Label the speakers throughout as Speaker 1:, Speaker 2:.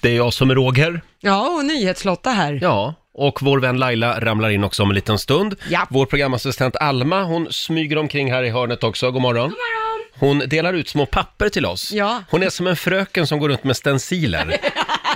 Speaker 1: Det är jag som är Roger.
Speaker 2: Ja, och Nyhetslotta här.
Speaker 1: Ja. Och vår vän Laila ramlar in också om en liten stund.
Speaker 2: Ja.
Speaker 1: Vår programassistent Alma, hon smyger omkring här i hörnet också. God morgon. Hon delar ut små papper till oss.
Speaker 2: Ja.
Speaker 1: Hon är som en fröken som går runt med stenciler.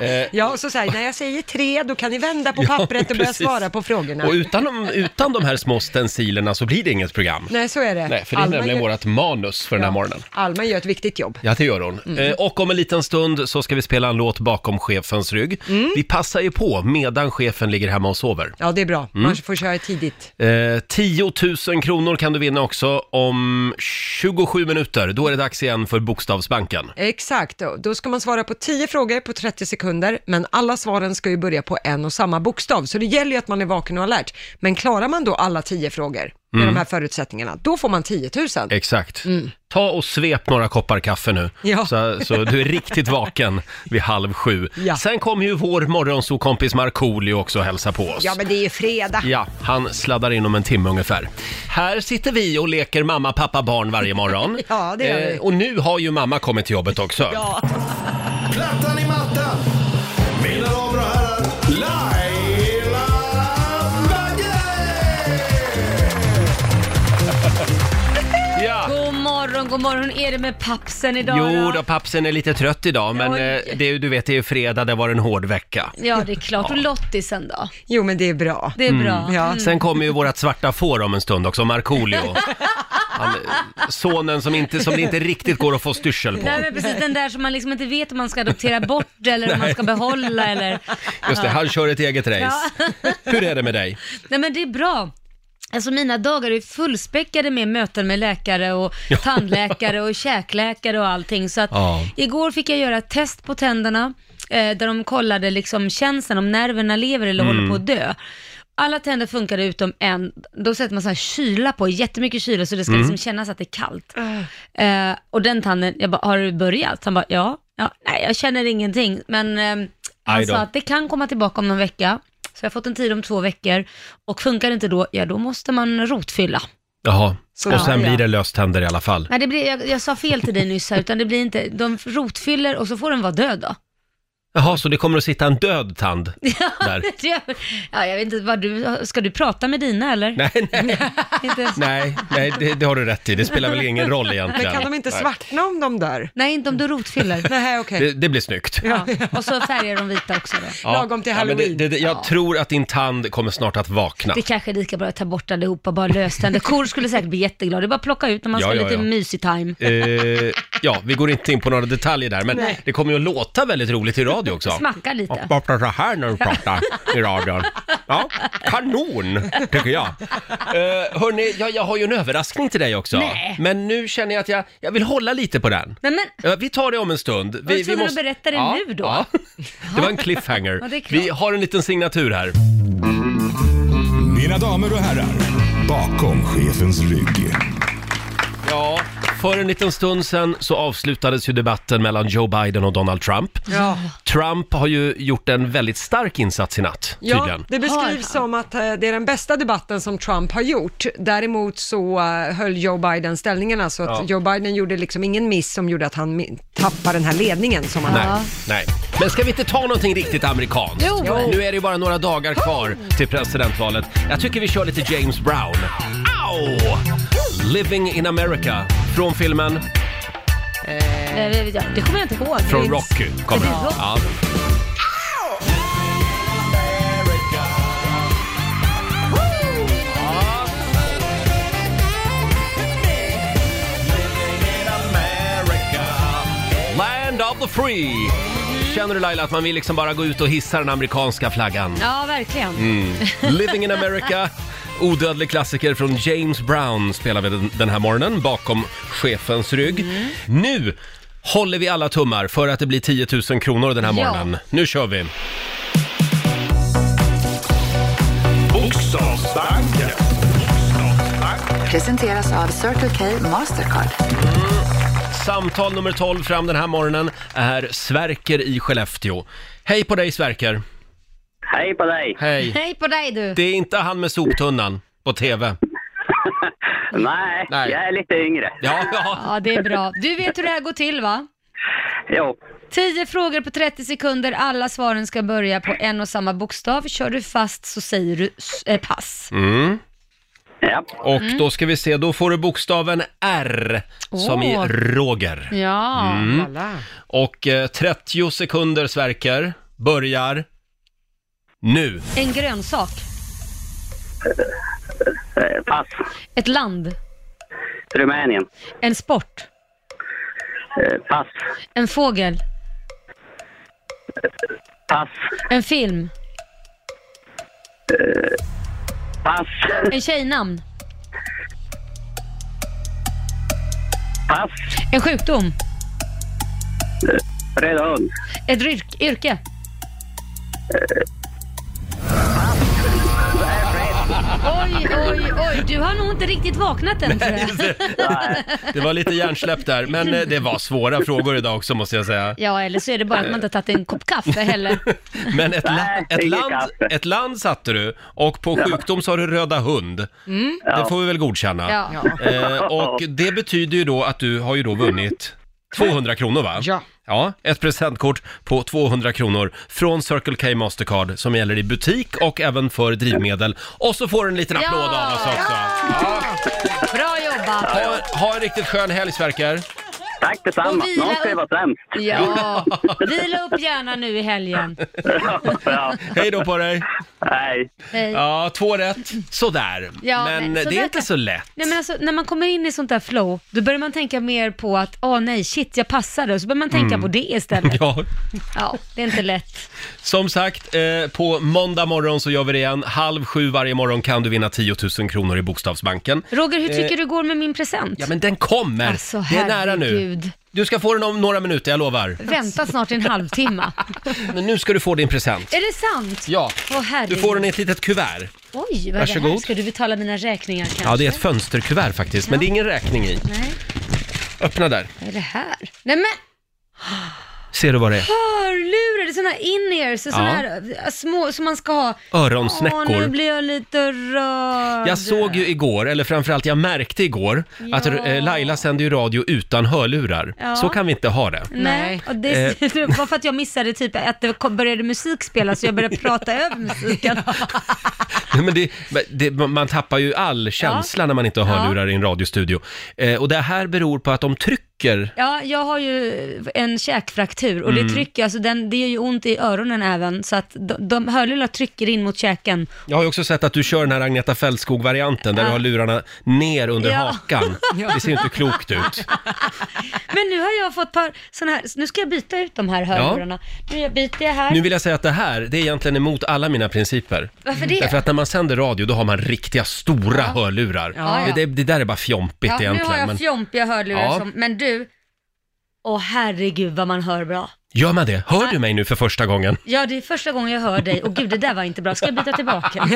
Speaker 1: Eh,
Speaker 2: Ja, och så säger när jag säger tre, då kan ni vända på pappret och börja
Speaker 1: precis.
Speaker 2: svara på frågorna.
Speaker 1: Och utan de, utan de här små stencilerna så blir det inget program.
Speaker 2: Nej, så är det.
Speaker 1: Nej, för det är
Speaker 2: Alma
Speaker 1: nämligen
Speaker 2: gör-
Speaker 1: vårt manus för den här
Speaker 2: Ja, Mm.
Speaker 1: morgonen.
Speaker 2: Alma gör ett viktigt jobb.
Speaker 1: Ja, det gör hon. Eh, och om en liten stund så ska vi spela en låt bakom chefens rygg.
Speaker 2: Mm.
Speaker 1: Vi passar ju på medan chefen ligger hemma och sover.
Speaker 2: Ja, det är bra.
Speaker 1: Mm.
Speaker 2: Man får köra tidigt.
Speaker 1: Eh, 10 000 kronor kan du vinna också om 27 minuter. Då är det dags igen för Bokstavsbanken.
Speaker 2: Exakt, och då ska man svara på 10 frågor på 30 sekunder, men alla svaren ska ju börja på en och samma bokstav, så det gäller ju att man är vaken och alert. Men klarar man då alla 10 frågor med
Speaker 1: Mm.
Speaker 2: de här förutsättningarna, då får man 10 000.
Speaker 1: Exakt. Ta och svep några koppar kaffe nu,
Speaker 2: Mm. Ja.
Speaker 1: så, så du är riktigt vaken vid halv sju.
Speaker 2: Ja.
Speaker 1: Sen kommer ju vår morgonsokompis Markoolio också och hälsa på oss.
Speaker 2: Ja, men det är ju fredag.
Speaker 1: Ja, han sladdar in om en timme ungefär. Här sitter vi och leker mamma, pappa, barn varje morgon. Eh,
Speaker 2: Ja, det gör vi.
Speaker 1: och nu har ju mamma kommit till jobbet också.
Speaker 2: Ja.
Speaker 3: Plattan i mattan. Mina damer och herrar, Laila Bagge!
Speaker 1: Ja.
Speaker 4: God morgon, god morgon. Hur är det med pappsen idag
Speaker 1: Jo då, pappsen är lite trött idag, men
Speaker 4: Oj.
Speaker 1: eh, det är, ju- du vet, det är ju fredag, det var en hård vecka.
Speaker 4: Ja, det är klart. Och Lottisen då?
Speaker 2: Jo, men det är bra. Mm.
Speaker 4: Det är bra. Mm.
Speaker 2: Ja.
Speaker 1: Mm. Sen kommer ju vårat svarta får om en stund också, Markoolio. Han, sonen som, inte, som det inte riktigt går att få styrsel på.
Speaker 4: Nej men precis den där som man liksom inte vet om man ska adoptera bort eller om man ska behålla eller...
Speaker 1: Just det, han kör ett eget race. Hur är det med dig?
Speaker 4: Nej men det är bra. Alltså mina dagar är fullspäckade med möten med läkare och tandläkare och käkläkare och allting. Så att
Speaker 1: Ja.
Speaker 4: igår fick jag göra ett test på tänderna eh, där de kollade liksom känslan om nerverna lever eller håller på att dö. Alla tänder funkade utom en, då sätter man så här kyla på, jättemycket kyla så det ska liksom kännas att det är kallt. Eh, och den tanden, jag bara, har du börjat? Han bara, ja. ja nej, jag känner ingenting. Men eh,
Speaker 1: Aj
Speaker 4: han
Speaker 1: då.
Speaker 4: sa att det kan komma tillbaka om någon vecka. Så jag har fått en tid om två veckor. Och funkar det inte då, ja då måste man rotfylla.
Speaker 1: Jaha,
Speaker 2: Så
Speaker 1: och sen
Speaker 2: ja.
Speaker 1: blir det löständer i alla fall.
Speaker 4: Nej, det blir, jag, jag sa fel till dig nyss här, utan det blir inte, de rotfyller och så får den vara död då.
Speaker 1: Jaha, så det kommer att sitta en död tand där?
Speaker 4: Ja, jag vet inte, vad du, ska du prata med dina eller?
Speaker 1: Nej, nej,
Speaker 4: Inte,
Speaker 1: nej, nej det, det har du rätt i. Det spelar väl ingen roll egentligen.
Speaker 2: Men kan de inte
Speaker 1: Nej.
Speaker 2: svartna om de dör?
Speaker 4: nej, inte om du rotfyller.
Speaker 2: Nej, okej.
Speaker 1: Det, det blir snyggt.
Speaker 4: Ja. Och så färgar de vita också då.
Speaker 2: Lagom till
Speaker 1: Ja, men
Speaker 2: Halloween.
Speaker 1: det, det, det, jag tror att din tand kommer snart att vakna.
Speaker 4: Det kanske är lika bra att ta bort allihopa, bara löständer. Kor skulle säkert bli jätteglada, det är bara att plocka ut när man
Speaker 1: Ja,
Speaker 4: ska
Speaker 1: ja,
Speaker 4: lite
Speaker 1: ja.
Speaker 4: mysig time.
Speaker 1: Eh, ja, vi går inte in på några detaljer där, men
Speaker 2: Nej.
Speaker 1: det kommer ju att låta väldigt roligt i radio också.
Speaker 4: Smacka lite.
Speaker 1: Och prata så här när du pratar i radion. Ja, kanon, tycker jag. Eh, hörni, jag, jag har ju en överraskning till dig också.
Speaker 4: Nej.
Speaker 1: Men nu känner jag att jag, jag vill hålla lite på den.
Speaker 4: Nej men,
Speaker 1: Ja, vi tar det om en stund. Vi,
Speaker 4: du tvungen att berätta det nu då?
Speaker 1: Det var en cliffhanger.
Speaker 4: Ja, det är klart.
Speaker 1: vi har en liten signatur här.
Speaker 3: Mina damer och herrar, bakom chefens rygg.
Speaker 1: Ja, för en liten stund sedan så avslutades ju debatten mellan Joe Biden och Donald Trump.
Speaker 2: Ja.
Speaker 1: Trump har ju gjort en väldigt stark insats i natt,
Speaker 2: Ja,
Speaker 1: tydligen.
Speaker 2: det
Speaker 4: Har han?
Speaker 2: beskrivs som att eh, det är den bästa debatten som Trump har gjort. Däremot så eh, höll Joe Biden ställningarna, så att
Speaker 1: Ja.
Speaker 2: Joe Biden gjorde liksom ingen miss som gjorde att han mi- tappade den här ledningen som han hade.
Speaker 1: Nej, nej. Men ska vi inte ta någonting riktigt amerikanskt?
Speaker 4: Jo.
Speaker 1: Nu är det ju bara några dagar kvar till presidentvalet. Jag tycker vi kör lite James Brown. Au! Living in America, från filmen,
Speaker 4: eh, ja, det kommer jag inte ihåg.
Speaker 1: från Rocky. Kommer.
Speaker 4: Ja,
Speaker 1: den.
Speaker 4: det är Rocky.
Speaker 1: Ja. Land of the free! Känner du Laila att man vill liksom bara gå ut och hissa den amerikanska flaggan?
Speaker 4: Ja, verkligen.
Speaker 1: Mm. Living in America, odödlig klassiker från James Brown spelar vi den- den här morgonen bakom chefens rygg. Nu håller vi alla tummar för att det blir 10 000 kronor den här
Speaker 4: Ja.
Speaker 1: morgonen. Nu kör vi!
Speaker 3: Bokstavsbanken.
Speaker 5: Presenteras av Circle K Mastercard.
Speaker 1: Samtal nummer 12 fram den här morgonen är Sverker i Skellefteå. Hej på dig Sverker!
Speaker 6: Hej på dig!
Speaker 1: Hej!
Speaker 4: Hej på dig du.
Speaker 1: Det är inte han med soptunnan på TV.
Speaker 6: Nej,
Speaker 1: Nej.
Speaker 6: jag är lite yngre.
Speaker 1: Ja, ja.
Speaker 4: Ja, det är bra. Du vet hur det här går till va?
Speaker 6: Jo,
Speaker 4: 10 frågor på 30 sekunder, alla svaren ska börja på en och samma bokstav. Kör du fast så säger du s- eh, pass.
Speaker 6: Ja.
Speaker 1: Mm. Och då ska vi se, då får du bokstaven R som i
Speaker 4: Åh.
Speaker 1: Roger.
Speaker 4: Ja,
Speaker 1: Mm.
Speaker 2: Alla.
Speaker 1: Och eh, 30 sekunder Sverker börjar nu.
Speaker 4: en grönsak,
Speaker 6: Eh, Pass.
Speaker 4: ett land,
Speaker 6: Rumänien.
Speaker 4: en sport,
Speaker 6: Eh, Pass.
Speaker 4: en fågel,
Speaker 6: Pass.
Speaker 4: en film,
Speaker 6: Eh, Pass.
Speaker 4: en tjejnamn,
Speaker 6: Pass.
Speaker 4: en sjukdom,
Speaker 7: eh,
Speaker 6: Röda hund.
Speaker 4: ett yrk- yrke.
Speaker 1: Eh,
Speaker 4: Oj, oj, oj, du har nog inte riktigt vaknat än tror jag.
Speaker 1: Det var lite hjärnsläpp där, men eh, det var svåra frågor idag också måste jag säga.
Speaker 4: Ja, eller så är det bara att man inte har tagit en kopp kaffe heller.
Speaker 1: Men ett, la-
Speaker 6: Nej,
Speaker 1: ett,
Speaker 6: inget
Speaker 1: land,
Speaker 6: kaffe.
Speaker 1: ett land satte du och på sjukdom sa du röda hund. Det får vi väl godkänna.
Speaker 4: Ja.
Speaker 1: Eh, och det betyder ju då att du har ju då vunnit 200 kronor va?
Speaker 2: Ja.
Speaker 1: Ja, ett presentkort på 200 kronor från Circle K Mastercard som gäller i butik och även för drivmedel. Och så får du en liten applåd
Speaker 4: Ja.
Speaker 1: av oss också.
Speaker 4: Bra jobbat!
Speaker 1: Ha, ha en riktigt skön helg Sverker.
Speaker 6: Tack detsamma.
Speaker 4: Och vila
Speaker 6: Någon ska ju
Speaker 4: upp.
Speaker 6: vara sämst.
Speaker 4: Ja, vila upp gärna nu i helgen.
Speaker 6: Ja.
Speaker 1: Hej då på dig.
Speaker 6: Nej.
Speaker 4: Hej.
Speaker 1: Ja, två rätt. Sådär.
Speaker 4: Eh, Ja,
Speaker 1: men
Speaker 4: men
Speaker 1: det
Speaker 4: sådär.
Speaker 1: är inte så lätt.
Speaker 4: Nej, men alltså, när man kommer in i sånt där flow, då börjar man tänka mer på att, åh nej, shit, jag passade, och så börjar man tänka på det istället. Ja.
Speaker 1: Mm. Ja.
Speaker 4: det är inte lätt.
Speaker 1: Som sagt, eh, på måndag morgon så gör vi det igen. Halv sju varje morgon kan du vinna 10 000 kronor i Bokstavsbanken. Eh,
Speaker 4: Roger, hur tycker du går med min present?
Speaker 1: Ja, men den kommer!
Speaker 4: Alltså,
Speaker 1: det är nära nu.
Speaker 4: herregud.
Speaker 1: Du ska få den om några minuter, jag lovar.
Speaker 4: Vänta snart en halvtimme.
Speaker 1: Men nu ska du få din present.
Speaker 4: är det sant?
Speaker 1: Ja.
Speaker 4: Åh, herregud.
Speaker 1: Du får den i ett litet kuvert.
Speaker 4: Oj, vad är det här?
Speaker 1: Varsågod.
Speaker 4: Ska du betala mina räkningar kanske?
Speaker 1: Ja, det är ett fönsterkuvert faktiskt, men det är ingen räkning i.
Speaker 4: Nej,
Speaker 1: Öppna där.
Speaker 4: vad är det här? Nej men,
Speaker 1: Ser du vad det är?
Speaker 4: hörlurar! Det är såna här in-ears, och såna
Speaker 1: Ja.
Speaker 4: här äh, små som man ska ha. Åh,
Speaker 1: Öronsnäckor.
Speaker 4: nu blir jag lite rörd.
Speaker 1: Jag såg ju igår, eller framförallt jag märkte igår, att eh, Laila sänder ju radio utan hörlurar.
Speaker 4: Ja.
Speaker 1: Så kan vi inte ha det.
Speaker 4: Nej, och det,
Speaker 1: Eh.
Speaker 4: det var för att jag missade typ att det kom- började musik spelas så jag började prata över musiken.
Speaker 1: Nej, Men det, men det, man tappar ju all känsla när man inte har hörlurar i en radiostudio. Eh, och det här beror på att de trycker.
Speaker 4: Ja, jag har ju en käkfraktur och
Speaker 1: Mm.
Speaker 4: det trycker, alltså den, det gör ju ont i öronen även så att de, de hörlurar trycker in mot käken.
Speaker 1: Jag har ju också sett att du kör den här Agneta Fältskog-varianten där du har lurarna ner under
Speaker 4: Ja.
Speaker 1: hakan. Det ser ju inte klokt ut.
Speaker 4: Men nu har jag fått par sådana här, nu ska jag byta ut de här hörlurarna. Nu jag byter jag här.
Speaker 1: Nu vill jag säga att det här, det är egentligen emot alla mina principer.
Speaker 4: Varför det?
Speaker 1: Därför att när man sänder radio, då har man riktiga stora hörlurar.
Speaker 4: Ja, ja.
Speaker 1: Det, det, det där är bara fjompigt
Speaker 4: ja, nu
Speaker 1: egentligen.
Speaker 4: har
Speaker 1: men-
Speaker 4: jag fjompiga hörlurar
Speaker 1: Ja.
Speaker 4: som, men du, åh herregud vad man hör bra.
Speaker 1: Gör man det? Hör du mig nu för första gången?
Speaker 4: Ja, det är första gången jag hör dig och gud, det där var inte bra. Ska jag byta tillbaka?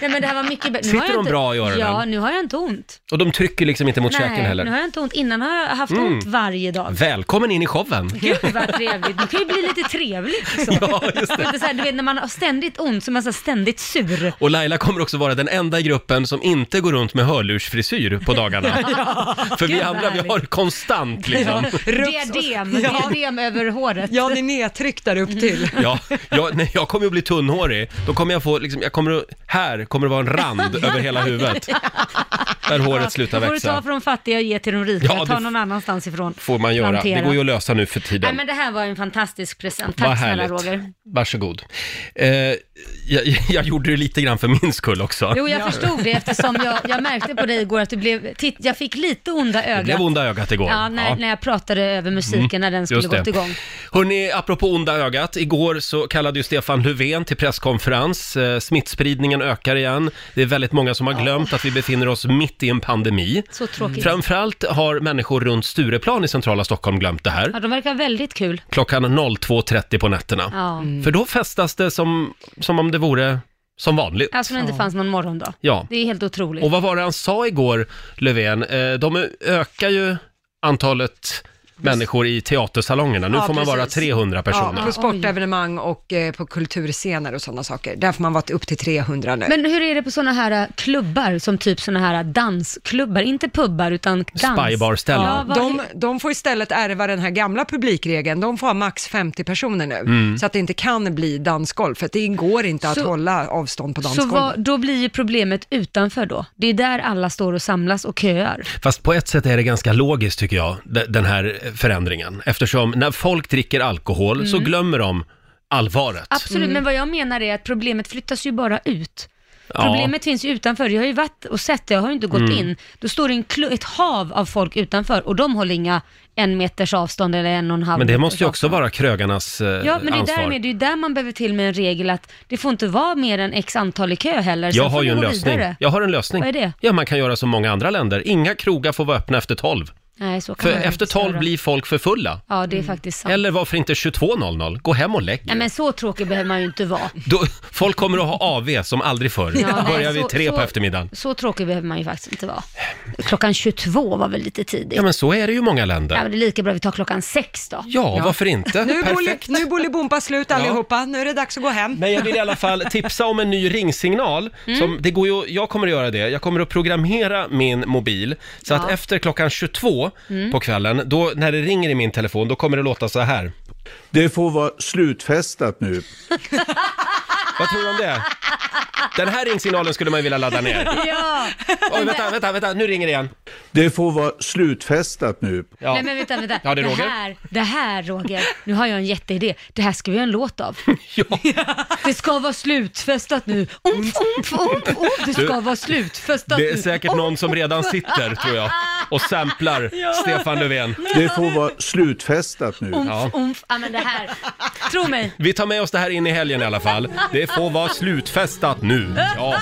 Speaker 4: Nej, men det här var mycket bättre. Nu har
Speaker 1: Sitter
Speaker 4: jag
Speaker 1: de bra i öronen?
Speaker 4: Ja, nu har jag inte ont.
Speaker 1: Och de trycker liksom inte mot käken
Speaker 4: Nej, nu har
Speaker 1: heller. Mm.
Speaker 4: jag inte ont. Innan har jag haft ont varje dag.
Speaker 1: Välkommen in i showen!
Speaker 4: Gud vad trevligt. Det kan ju bli lite trevligt också.
Speaker 1: Ja, just det.
Speaker 4: Inte så här, du vet när man har ständigt ont så är man så här ständigt sur.
Speaker 1: Och Laila kommer också vara den enda i gruppen som inte går runt med hörlursfrisyr på dagarna. För vi
Speaker 4: Gud, vad
Speaker 1: andra, vi har
Speaker 4: härligt.
Speaker 1: konstant liksom.
Speaker 4: Diadem, diadem över håret.
Speaker 2: Ja, ni är nedtryckta upp till.
Speaker 1: Ja, jag, nej, jag kommer ju bli tunnhårig. Då kommer jag få, liksom, jag kommer, att- här kommer det vara en rand över hela huvudet. Där håret slutar
Speaker 4: Då får du ta
Speaker 1: växa.
Speaker 4: från fattiga och ge till de rika.
Speaker 1: Ja,
Speaker 4: ta
Speaker 1: det-
Speaker 4: någon annanstans ifrån.
Speaker 1: Får man göra.
Speaker 4: Plantera.
Speaker 1: Det går ju att lösa nu för
Speaker 4: Nej,
Speaker 1: tiden.
Speaker 4: men det här var en fantastisk present. Tack
Speaker 1: Vad
Speaker 4: snälla
Speaker 1: härligt.
Speaker 4: Roger.
Speaker 1: Varsågod. Eh, jag, jag gjorde det lite grann för min skull också.
Speaker 4: Jo, jag förstod det eftersom jag, jag märkte på dig igår att du blev, titt, jag fick lite onda ögat.
Speaker 1: Det blev onda ögat igår. Mm.
Speaker 4: Ja, när, när jag pratade över musiken när den skulle
Speaker 1: Just
Speaker 4: gått
Speaker 1: det.
Speaker 4: igång.
Speaker 1: Hörrni, apropå onda ögat, igår så kallade ju Stefan Löfven till presskonferens. Eh, Smittspridningen ökar igen. Det är väldigt många som har glömt att vi befinner oss mitt i en pandemi.
Speaker 4: Så tråkigt.
Speaker 1: Framförallt har människor runt Stureplan i centrala Stockholm glömt det här.
Speaker 4: Ja, de verkar väldigt kul.
Speaker 1: Klockan 02.30 på nätterna.
Speaker 4: Ja.
Speaker 1: Mm. För då festas det som, som om det vore som vanligt.
Speaker 4: Alltså när det inte fanns någon morgon då.
Speaker 1: Ja.
Speaker 4: Det är helt otroligt.
Speaker 1: Och vad var det han sa igår, Löfven? Eh, De ökar ju antalet människor i teatersalongerna. Nu
Speaker 2: Ja,
Speaker 1: får man vara
Speaker 2: precis.
Speaker 1: 300 personer.
Speaker 2: Ja, på sportevenemang och eh, på kulturscener och sådana saker. Där får man vara upp till 300 nu.
Speaker 4: Men hur är det på sådana här äh, klubbar, som typ sådana här äh, dansklubbar, inte pubbar utan dans?
Speaker 1: Spybarställen.
Speaker 4: Ja, vad-
Speaker 2: de, de får istället ärva den här gamla publikregeln. De får ha max 50 personer nu,
Speaker 1: Mm.
Speaker 2: så att det inte kan bli dansgolv, för att det går inte att
Speaker 4: Så-
Speaker 2: hålla avstånd på
Speaker 4: Så
Speaker 2: dansgolvet.
Speaker 4: vad, då blir ju problemet utanför då. Det är där alla står och samlas och köar.
Speaker 1: Fast på ett sätt är det ganska logiskt tycker jag, de- den här förändringen. Eftersom när folk dricker alkohol så glömmer de allvaret.
Speaker 4: Mm. Absolut, men vad jag menar är att problemet flyttas ju bara ut.
Speaker 1: Ja. Mm.
Speaker 4: Problemet finns ju utanför. Jag har ju varit och sett det, jag har ju inte gått in. Då står det en klu- ett hav av folk utanför och de håller inga en meters avstånd eller en och en halv
Speaker 1: Men det
Speaker 4: meters
Speaker 1: måste ju också
Speaker 4: avstånd.
Speaker 1: vara krögarnas eh,
Speaker 4: Ja, men det är,
Speaker 1: ansvar.
Speaker 4: där med, det är ju där man behöver till med en regel att det får inte vara mer än x antal i kö heller.
Speaker 1: Jag
Speaker 4: Sen får
Speaker 1: har ju
Speaker 4: vi
Speaker 1: en
Speaker 4: gå
Speaker 1: lösning.
Speaker 4: vidare.
Speaker 1: Jag har en lösning.
Speaker 4: Vad är det?
Speaker 1: Ja, man kan göra som många andra länder. Inga krogar får vara öppna efter 12.
Speaker 4: Nej, så kan
Speaker 1: För
Speaker 4: man ju
Speaker 1: efter Mm.
Speaker 4: inte
Speaker 1: 12
Speaker 4: göra.
Speaker 1: blir folk för fulla.
Speaker 4: Ja, det är faktiskt sant.
Speaker 1: Eller varför inte 22.00? Gå hem och lägg er.
Speaker 4: Nej, men så tråkig behöver man ju inte vara.
Speaker 1: Då, folk kommer att ha AV som aldrig förr.
Speaker 4: Ja, nej,
Speaker 1: Börjar vid
Speaker 4: så-
Speaker 1: tre på
Speaker 4: så-
Speaker 1: eftermiddagen.
Speaker 4: Så tråkig behöver man ju faktiskt inte vara. Klockan 22 var väl lite tidigt.
Speaker 1: Ja,
Speaker 4: Ja, men,
Speaker 1: men så är det ju i många länder.
Speaker 4: det är lika bra vi tar klockan 6 då.
Speaker 1: Ja, varför inte?
Speaker 2: Nu är
Speaker 1: Perfekt.
Speaker 2: boli- Nu är Bolibompa slut allihopa, nu är det dags att gå hem.
Speaker 1: Men jag vill i alla fall tipsa om en ny ringsignal.
Speaker 4: Mm.
Speaker 1: Som, det går ju, jag kommer att göra det. Jag kommer att programmera min mobil så att
Speaker 4: Ja. Mm.
Speaker 1: efter klockan 22 på kvällen, då, när det ringer i min telefon, då kommer det låta så här.
Speaker 8: Det får vara slutfestat nu.
Speaker 1: Vad tror du om det? Den här ringsignalen skulle man ju vilja ladda ner.
Speaker 4: Ja.
Speaker 1: Oj, vänta, vänta, vänta, nu ringer det igen.
Speaker 8: Det får vara slutfestat nu.
Speaker 1: Ja.
Speaker 4: Nej men vänta, vänta.
Speaker 1: Ja, det är Roger.
Speaker 4: här, det här Roger, nu har jag en jätteidé. Det här ska vi göra en låt av.
Speaker 1: Ja.
Speaker 4: Det ska vara slutfestat nu. Umf, umf, umf, umf. Det ska vara slutfestat
Speaker 1: Det är
Speaker 4: nu.
Speaker 1: säkert någon som redan sitter, tror jag, och samplar Stefan Löfven.
Speaker 8: Det får vara slutfestat nu.
Speaker 1: Ja.
Speaker 4: Umf, umf. Ja men det här, tro mig.
Speaker 1: Vi tar med oss det här in i helgen i alla fall. Det får vara slutfestat nu. Ja.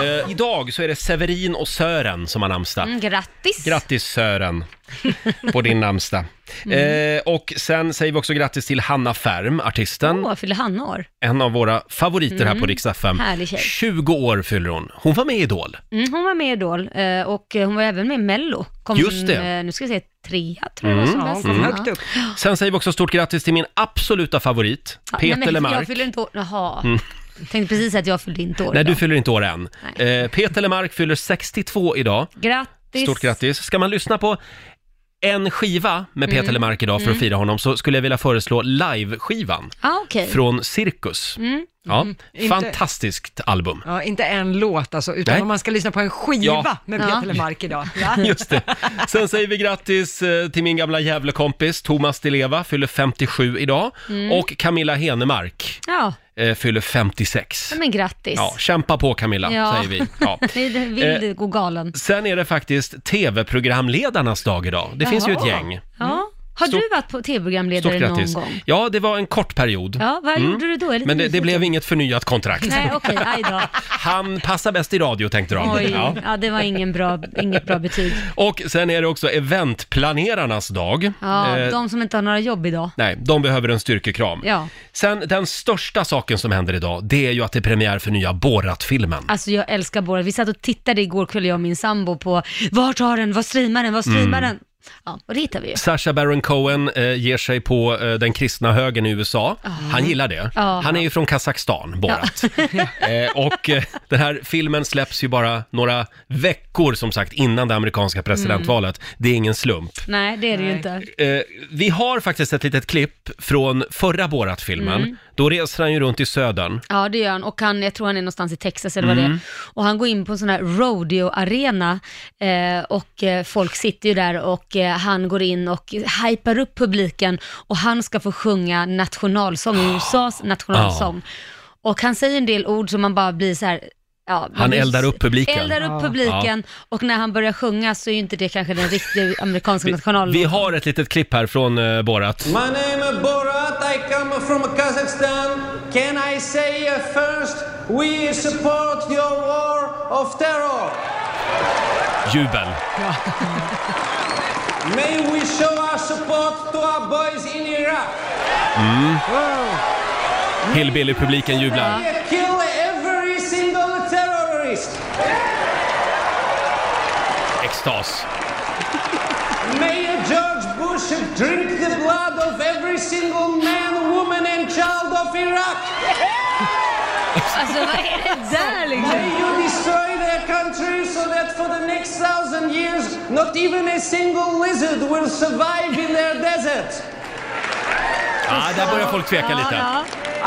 Speaker 1: Eh, idag så är det Severin och Sören som har namnsdag.
Speaker 4: Mm, grattis.
Speaker 1: Grattis Sören på din namnsdag.
Speaker 4: Mm.
Speaker 1: Eh, och sen säger vi också grattis till Hanna Färm, artisten.
Speaker 4: Åh, fyller han år? Mm.
Speaker 1: En av våra favoriter här på Rix FM.
Speaker 4: Härlig tjej.
Speaker 1: 20 år fyller hon. Hon var med i Idol.
Speaker 4: Mm, hon var med i Idol eh, och eh, hon var även med i Mello. Kom
Speaker 1: Just
Speaker 4: som,
Speaker 1: det.
Speaker 4: eh, Nu ska vi se, trea tror jag mm. var som
Speaker 2: Ja,
Speaker 4: bäst.
Speaker 2: kom
Speaker 4: Ja.
Speaker 2: högt upp.
Speaker 1: Sen säger vi också stort grattis till min absoluta favorit,
Speaker 4: Ja, nej,
Speaker 1: Peter
Speaker 4: men
Speaker 1: Lemark. Mm.
Speaker 4: Jag fyller inte år, jaha. Tänkte precis att jag fyllde inte år
Speaker 1: Nej, du
Speaker 4: idag.
Speaker 1: fyller inte år än.
Speaker 4: Nej.
Speaker 1: Eh, Peter Lemark fyller 62 idag.
Speaker 4: Grattis.
Speaker 1: Stort grattis. Ska man lyssna på en skiva med
Speaker 4: Mm.
Speaker 1: Peter Lemark idag för att fira honom så skulle jag vilja föreslå live-skivan
Speaker 4: Ah, okej. Mm.
Speaker 1: från Cirkus. Ja,
Speaker 2: Mm. Inte-
Speaker 1: fantastiskt album.
Speaker 2: Ja, inte en låt alltså, utan
Speaker 1: Nej.
Speaker 2: om man ska lyssna på en skiva
Speaker 1: Ja.
Speaker 2: med
Speaker 4: Ja.
Speaker 2: Peter Lemark idag. Ja.
Speaker 1: Just det. Sen säger vi grattis eh, till min gamla Gävlekompis Thomas Di Leva, fyller 57 idag.
Speaker 4: Mm.
Speaker 1: Och Camilla Henemark
Speaker 4: Ja,
Speaker 1: eh, fyller 56.
Speaker 4: men grattis.
Speaker 1: Ja, kämpa på Camilla,
Speaker 4: Ja.
Speaker 1: säger vi. Ja. Eh,
Speaker 4: Vill, vill du gå galen?
Speaker 1: Sen är det faktiskt tv-programledarnas dag idag. Det finns ju ett
Speaker 4: Jaha.
Speaker 1: gäng. Mm.
Speaker 4: Ja. Har du varit på
Speaker 1: Stort
Speaker 4: tv-programledare
Speaker 1: grattis.
Speaker 4: någon gång?
Speaker 1: Ja, det var en kort period. Mm.
Speaker 4: Ja, vad gjorde du då? Jag är lite
Speaker 1: Men det, det
Speaker 4: nyfiken.
Speaker 1: blev inget förnyat kontrakt.
Speaker 4: Nej, okej, aj då.
Speaker 1: Han passar bäst i radio tänkte de.
Speaker 4: Oj,
Speaker 1: Ja.
Speaker 4: ja. det var ingen bra, inget bra betyg.
Speaker 1: Och sen är det också eventplanerarnas dag.
Speaker 4: Ja,
Speaker 1: Eh,
Speaker 4: de som inte har några jobb idag.
Speaker 1: Nej, de behöver en styrkekram.
Speaker 4: Ja.
Speaker 1: Sen den största saken som händer idag, det är ju att det är premiär för nya Borat-filmen.
Speaker 4: Alltså jag älskar Borat. Vi satt och tittade igår kväll, jag och min sambo, på vart har den, vad streamar den, vad
Speaker 1: Mm.
Speaker 4: streamar den? Ja, och det hittar vi ju.
Speaker 1: Sacha Baron Cohen eh, ger sig på eh, den kristna högen i USA. Han gillar det.
Speaker 4: Ja.
Speaker 1: Han är ju från Kazakstan, Borat. eh, och eh, den här filmen släpps ju bara några veckor som sagt innan det amerikanska presidentvalet.
Speaker 4: Mm.
Speaker 1: Det är ingen slump.
Speaker 4: Nej, det är det ju inte.
Speaker 1: Eh, vi har faktiskt ett litet klipp från förra Borat-filmen.
Speaker 4: Mm.
Speaker 1: Då reser han ju runt i södern.
Speaker 4: Ja, det gör han. Och han, jag tror han är någonstans i Texas eller vad det
Speaker 1: Mm.
Speaker 4: är. Och han går in på en sån här rodeo-arena eh, och eh, folk sitter ju där och eh, han går in och hypar upp publiken och han ska få sjunga nationalsång, USAs nationalsång. Och han säger en del ord som man bara blir så här, ja, man
Speaker 1: Han
Speaker 4: blir-
Speaker 1: eldar upp publiken.
Speaker 4: Eldar upp publiken och när han börjar sjunga så är ju inte det kanske den riktiga amerikanska nationallåten.
Speaker 1: Vi har ett litet klipp här från eh, Borat.
Speaker 9: My name is Borat. I come from Kazakhstan. Can I say uh, first, we support your war of terror.
Speaker 1: Jubel.
Speaker 9: May we show our support to our boys in Iraq.
Speaker 1: Mm. Hillbilly-publiken jublar.
Speaker 9: We kill every single terrorist.
Speaker 1: Extas.
Speaker 9: May George Bush should drink the blood of every single man, woman and child of Iraq.
Speaker 4: Alltså vad är er det där liksom?
Speaker 9: May you destroy their country so that for the next thousand years, not even a single lizard will survive in their desert.
Speaker 1: Ja, där börjar folk tveka lite.
Speaker 4: Ja,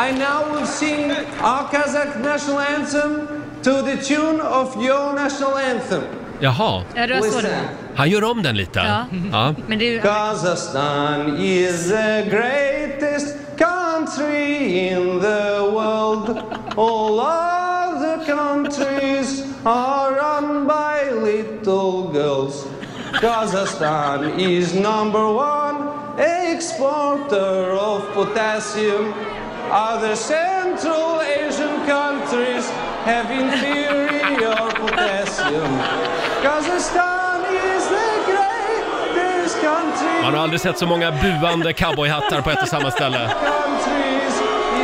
Speaker 9: I now will sing our Kazakh national anthem to the tune of your national anthem.
Speaker 1: Jaha,
Speaker 4: ja. ja det var så det
Speaker 9: Listen.
Speaker 4: var.
Speaker 1: han gör om den lite.
Speaker 4: Ja.
Speaker 1: Ja.
Speaker 4: Men det er är ju...
Speaker 9: Kazakhstan is the greatest country in the world. All other countries are run by little girls. Kazakhstan is number one exporter of potassium. Other Central Asian countries have inferior potassium. Kazakhstan is the greatest country.
Speaker 1: Man har aldrig sett så många buande cowboyhattar på ett och samma ställe.
Speaker 9: countries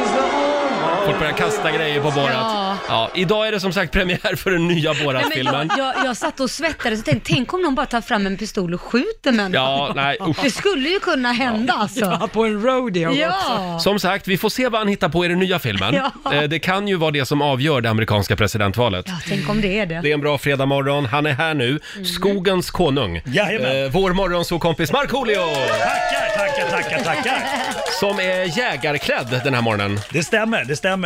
Speaker 9: is the home of
Speaker 1: Folk börjar kasta grejer på Borat.
Speaker 4: Ja.
Speaker 1: Ja, idag är det som sagt premiär för den nya
Speaker 4: Nej, men
Speaker 1: Borat-filmen.
Speaker 4: jag, jag, jag satt och svettades och tänkte, tänk om någon bara tar fram en pistol och skjuter människor.
Speaker 1: Ja, nej, usch.
Speaker 4: Det skulle ju kunna hända alltså.
Speaker 2: Ja, på en rodeo också.
Speaker 4: Ja!
Speaker 1: Som sagt, vi får se vad han hittar på i den nya filmen.
Speaker 4: Ja.
Speaker 1: Eh, Det kan ju vara det som avgör det amerikanska presidentvalet.
Speaker 4: Ja, Mm. tänk om det är det.
Speaker 1: Det är en bra fredag morgon. han är här nu. Skogens konung. Eh,
Speaker 7: Jajamän.
Speaker 1: vår morgonsåkompis Markoolio!
Speaker 7: Tackar, tackar, tackar, tackar.
Speaker 1: Som är jägarklädd den här morgonen.
Speaker 7: Det stämmer, det stämmer.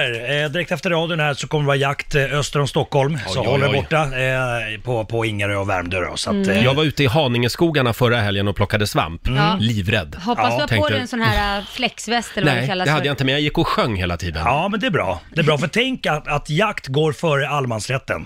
Speaker 7: Eh, direkt efter radion här så kommer det vara jakt eh, öster om Stockholm. så
Speaker 1: oj,
Speaker 7: håll
Speaker 1: oj.
Speaker 7: er borta eh, på, på Ingarö och Värmdö då, så att,
Speaker 4: Mm.
Speaker 7: eh,
Speaker 1: Jag var ute i Haningeskogarna förra helgen och plockade svamp. Mm.
Speaker 4: Ja.
Speaker 1: Livrädd.
Speaker 4: Hoppas du har på
Speaker 1: Tänkte-
Speaker 4: dig en sån här äh, flexväst eller vad det
Speaker 1: Nej,
Speaker 4: kallas
Speaker 1: det hade
Speaker 4: för.
Speaker 1: jag inte, men jag gick och sjöng hela tiden.
Speaker 7: Ja, men det är bra. Det är bra, för tänk att, att jakt går före allemansrätten.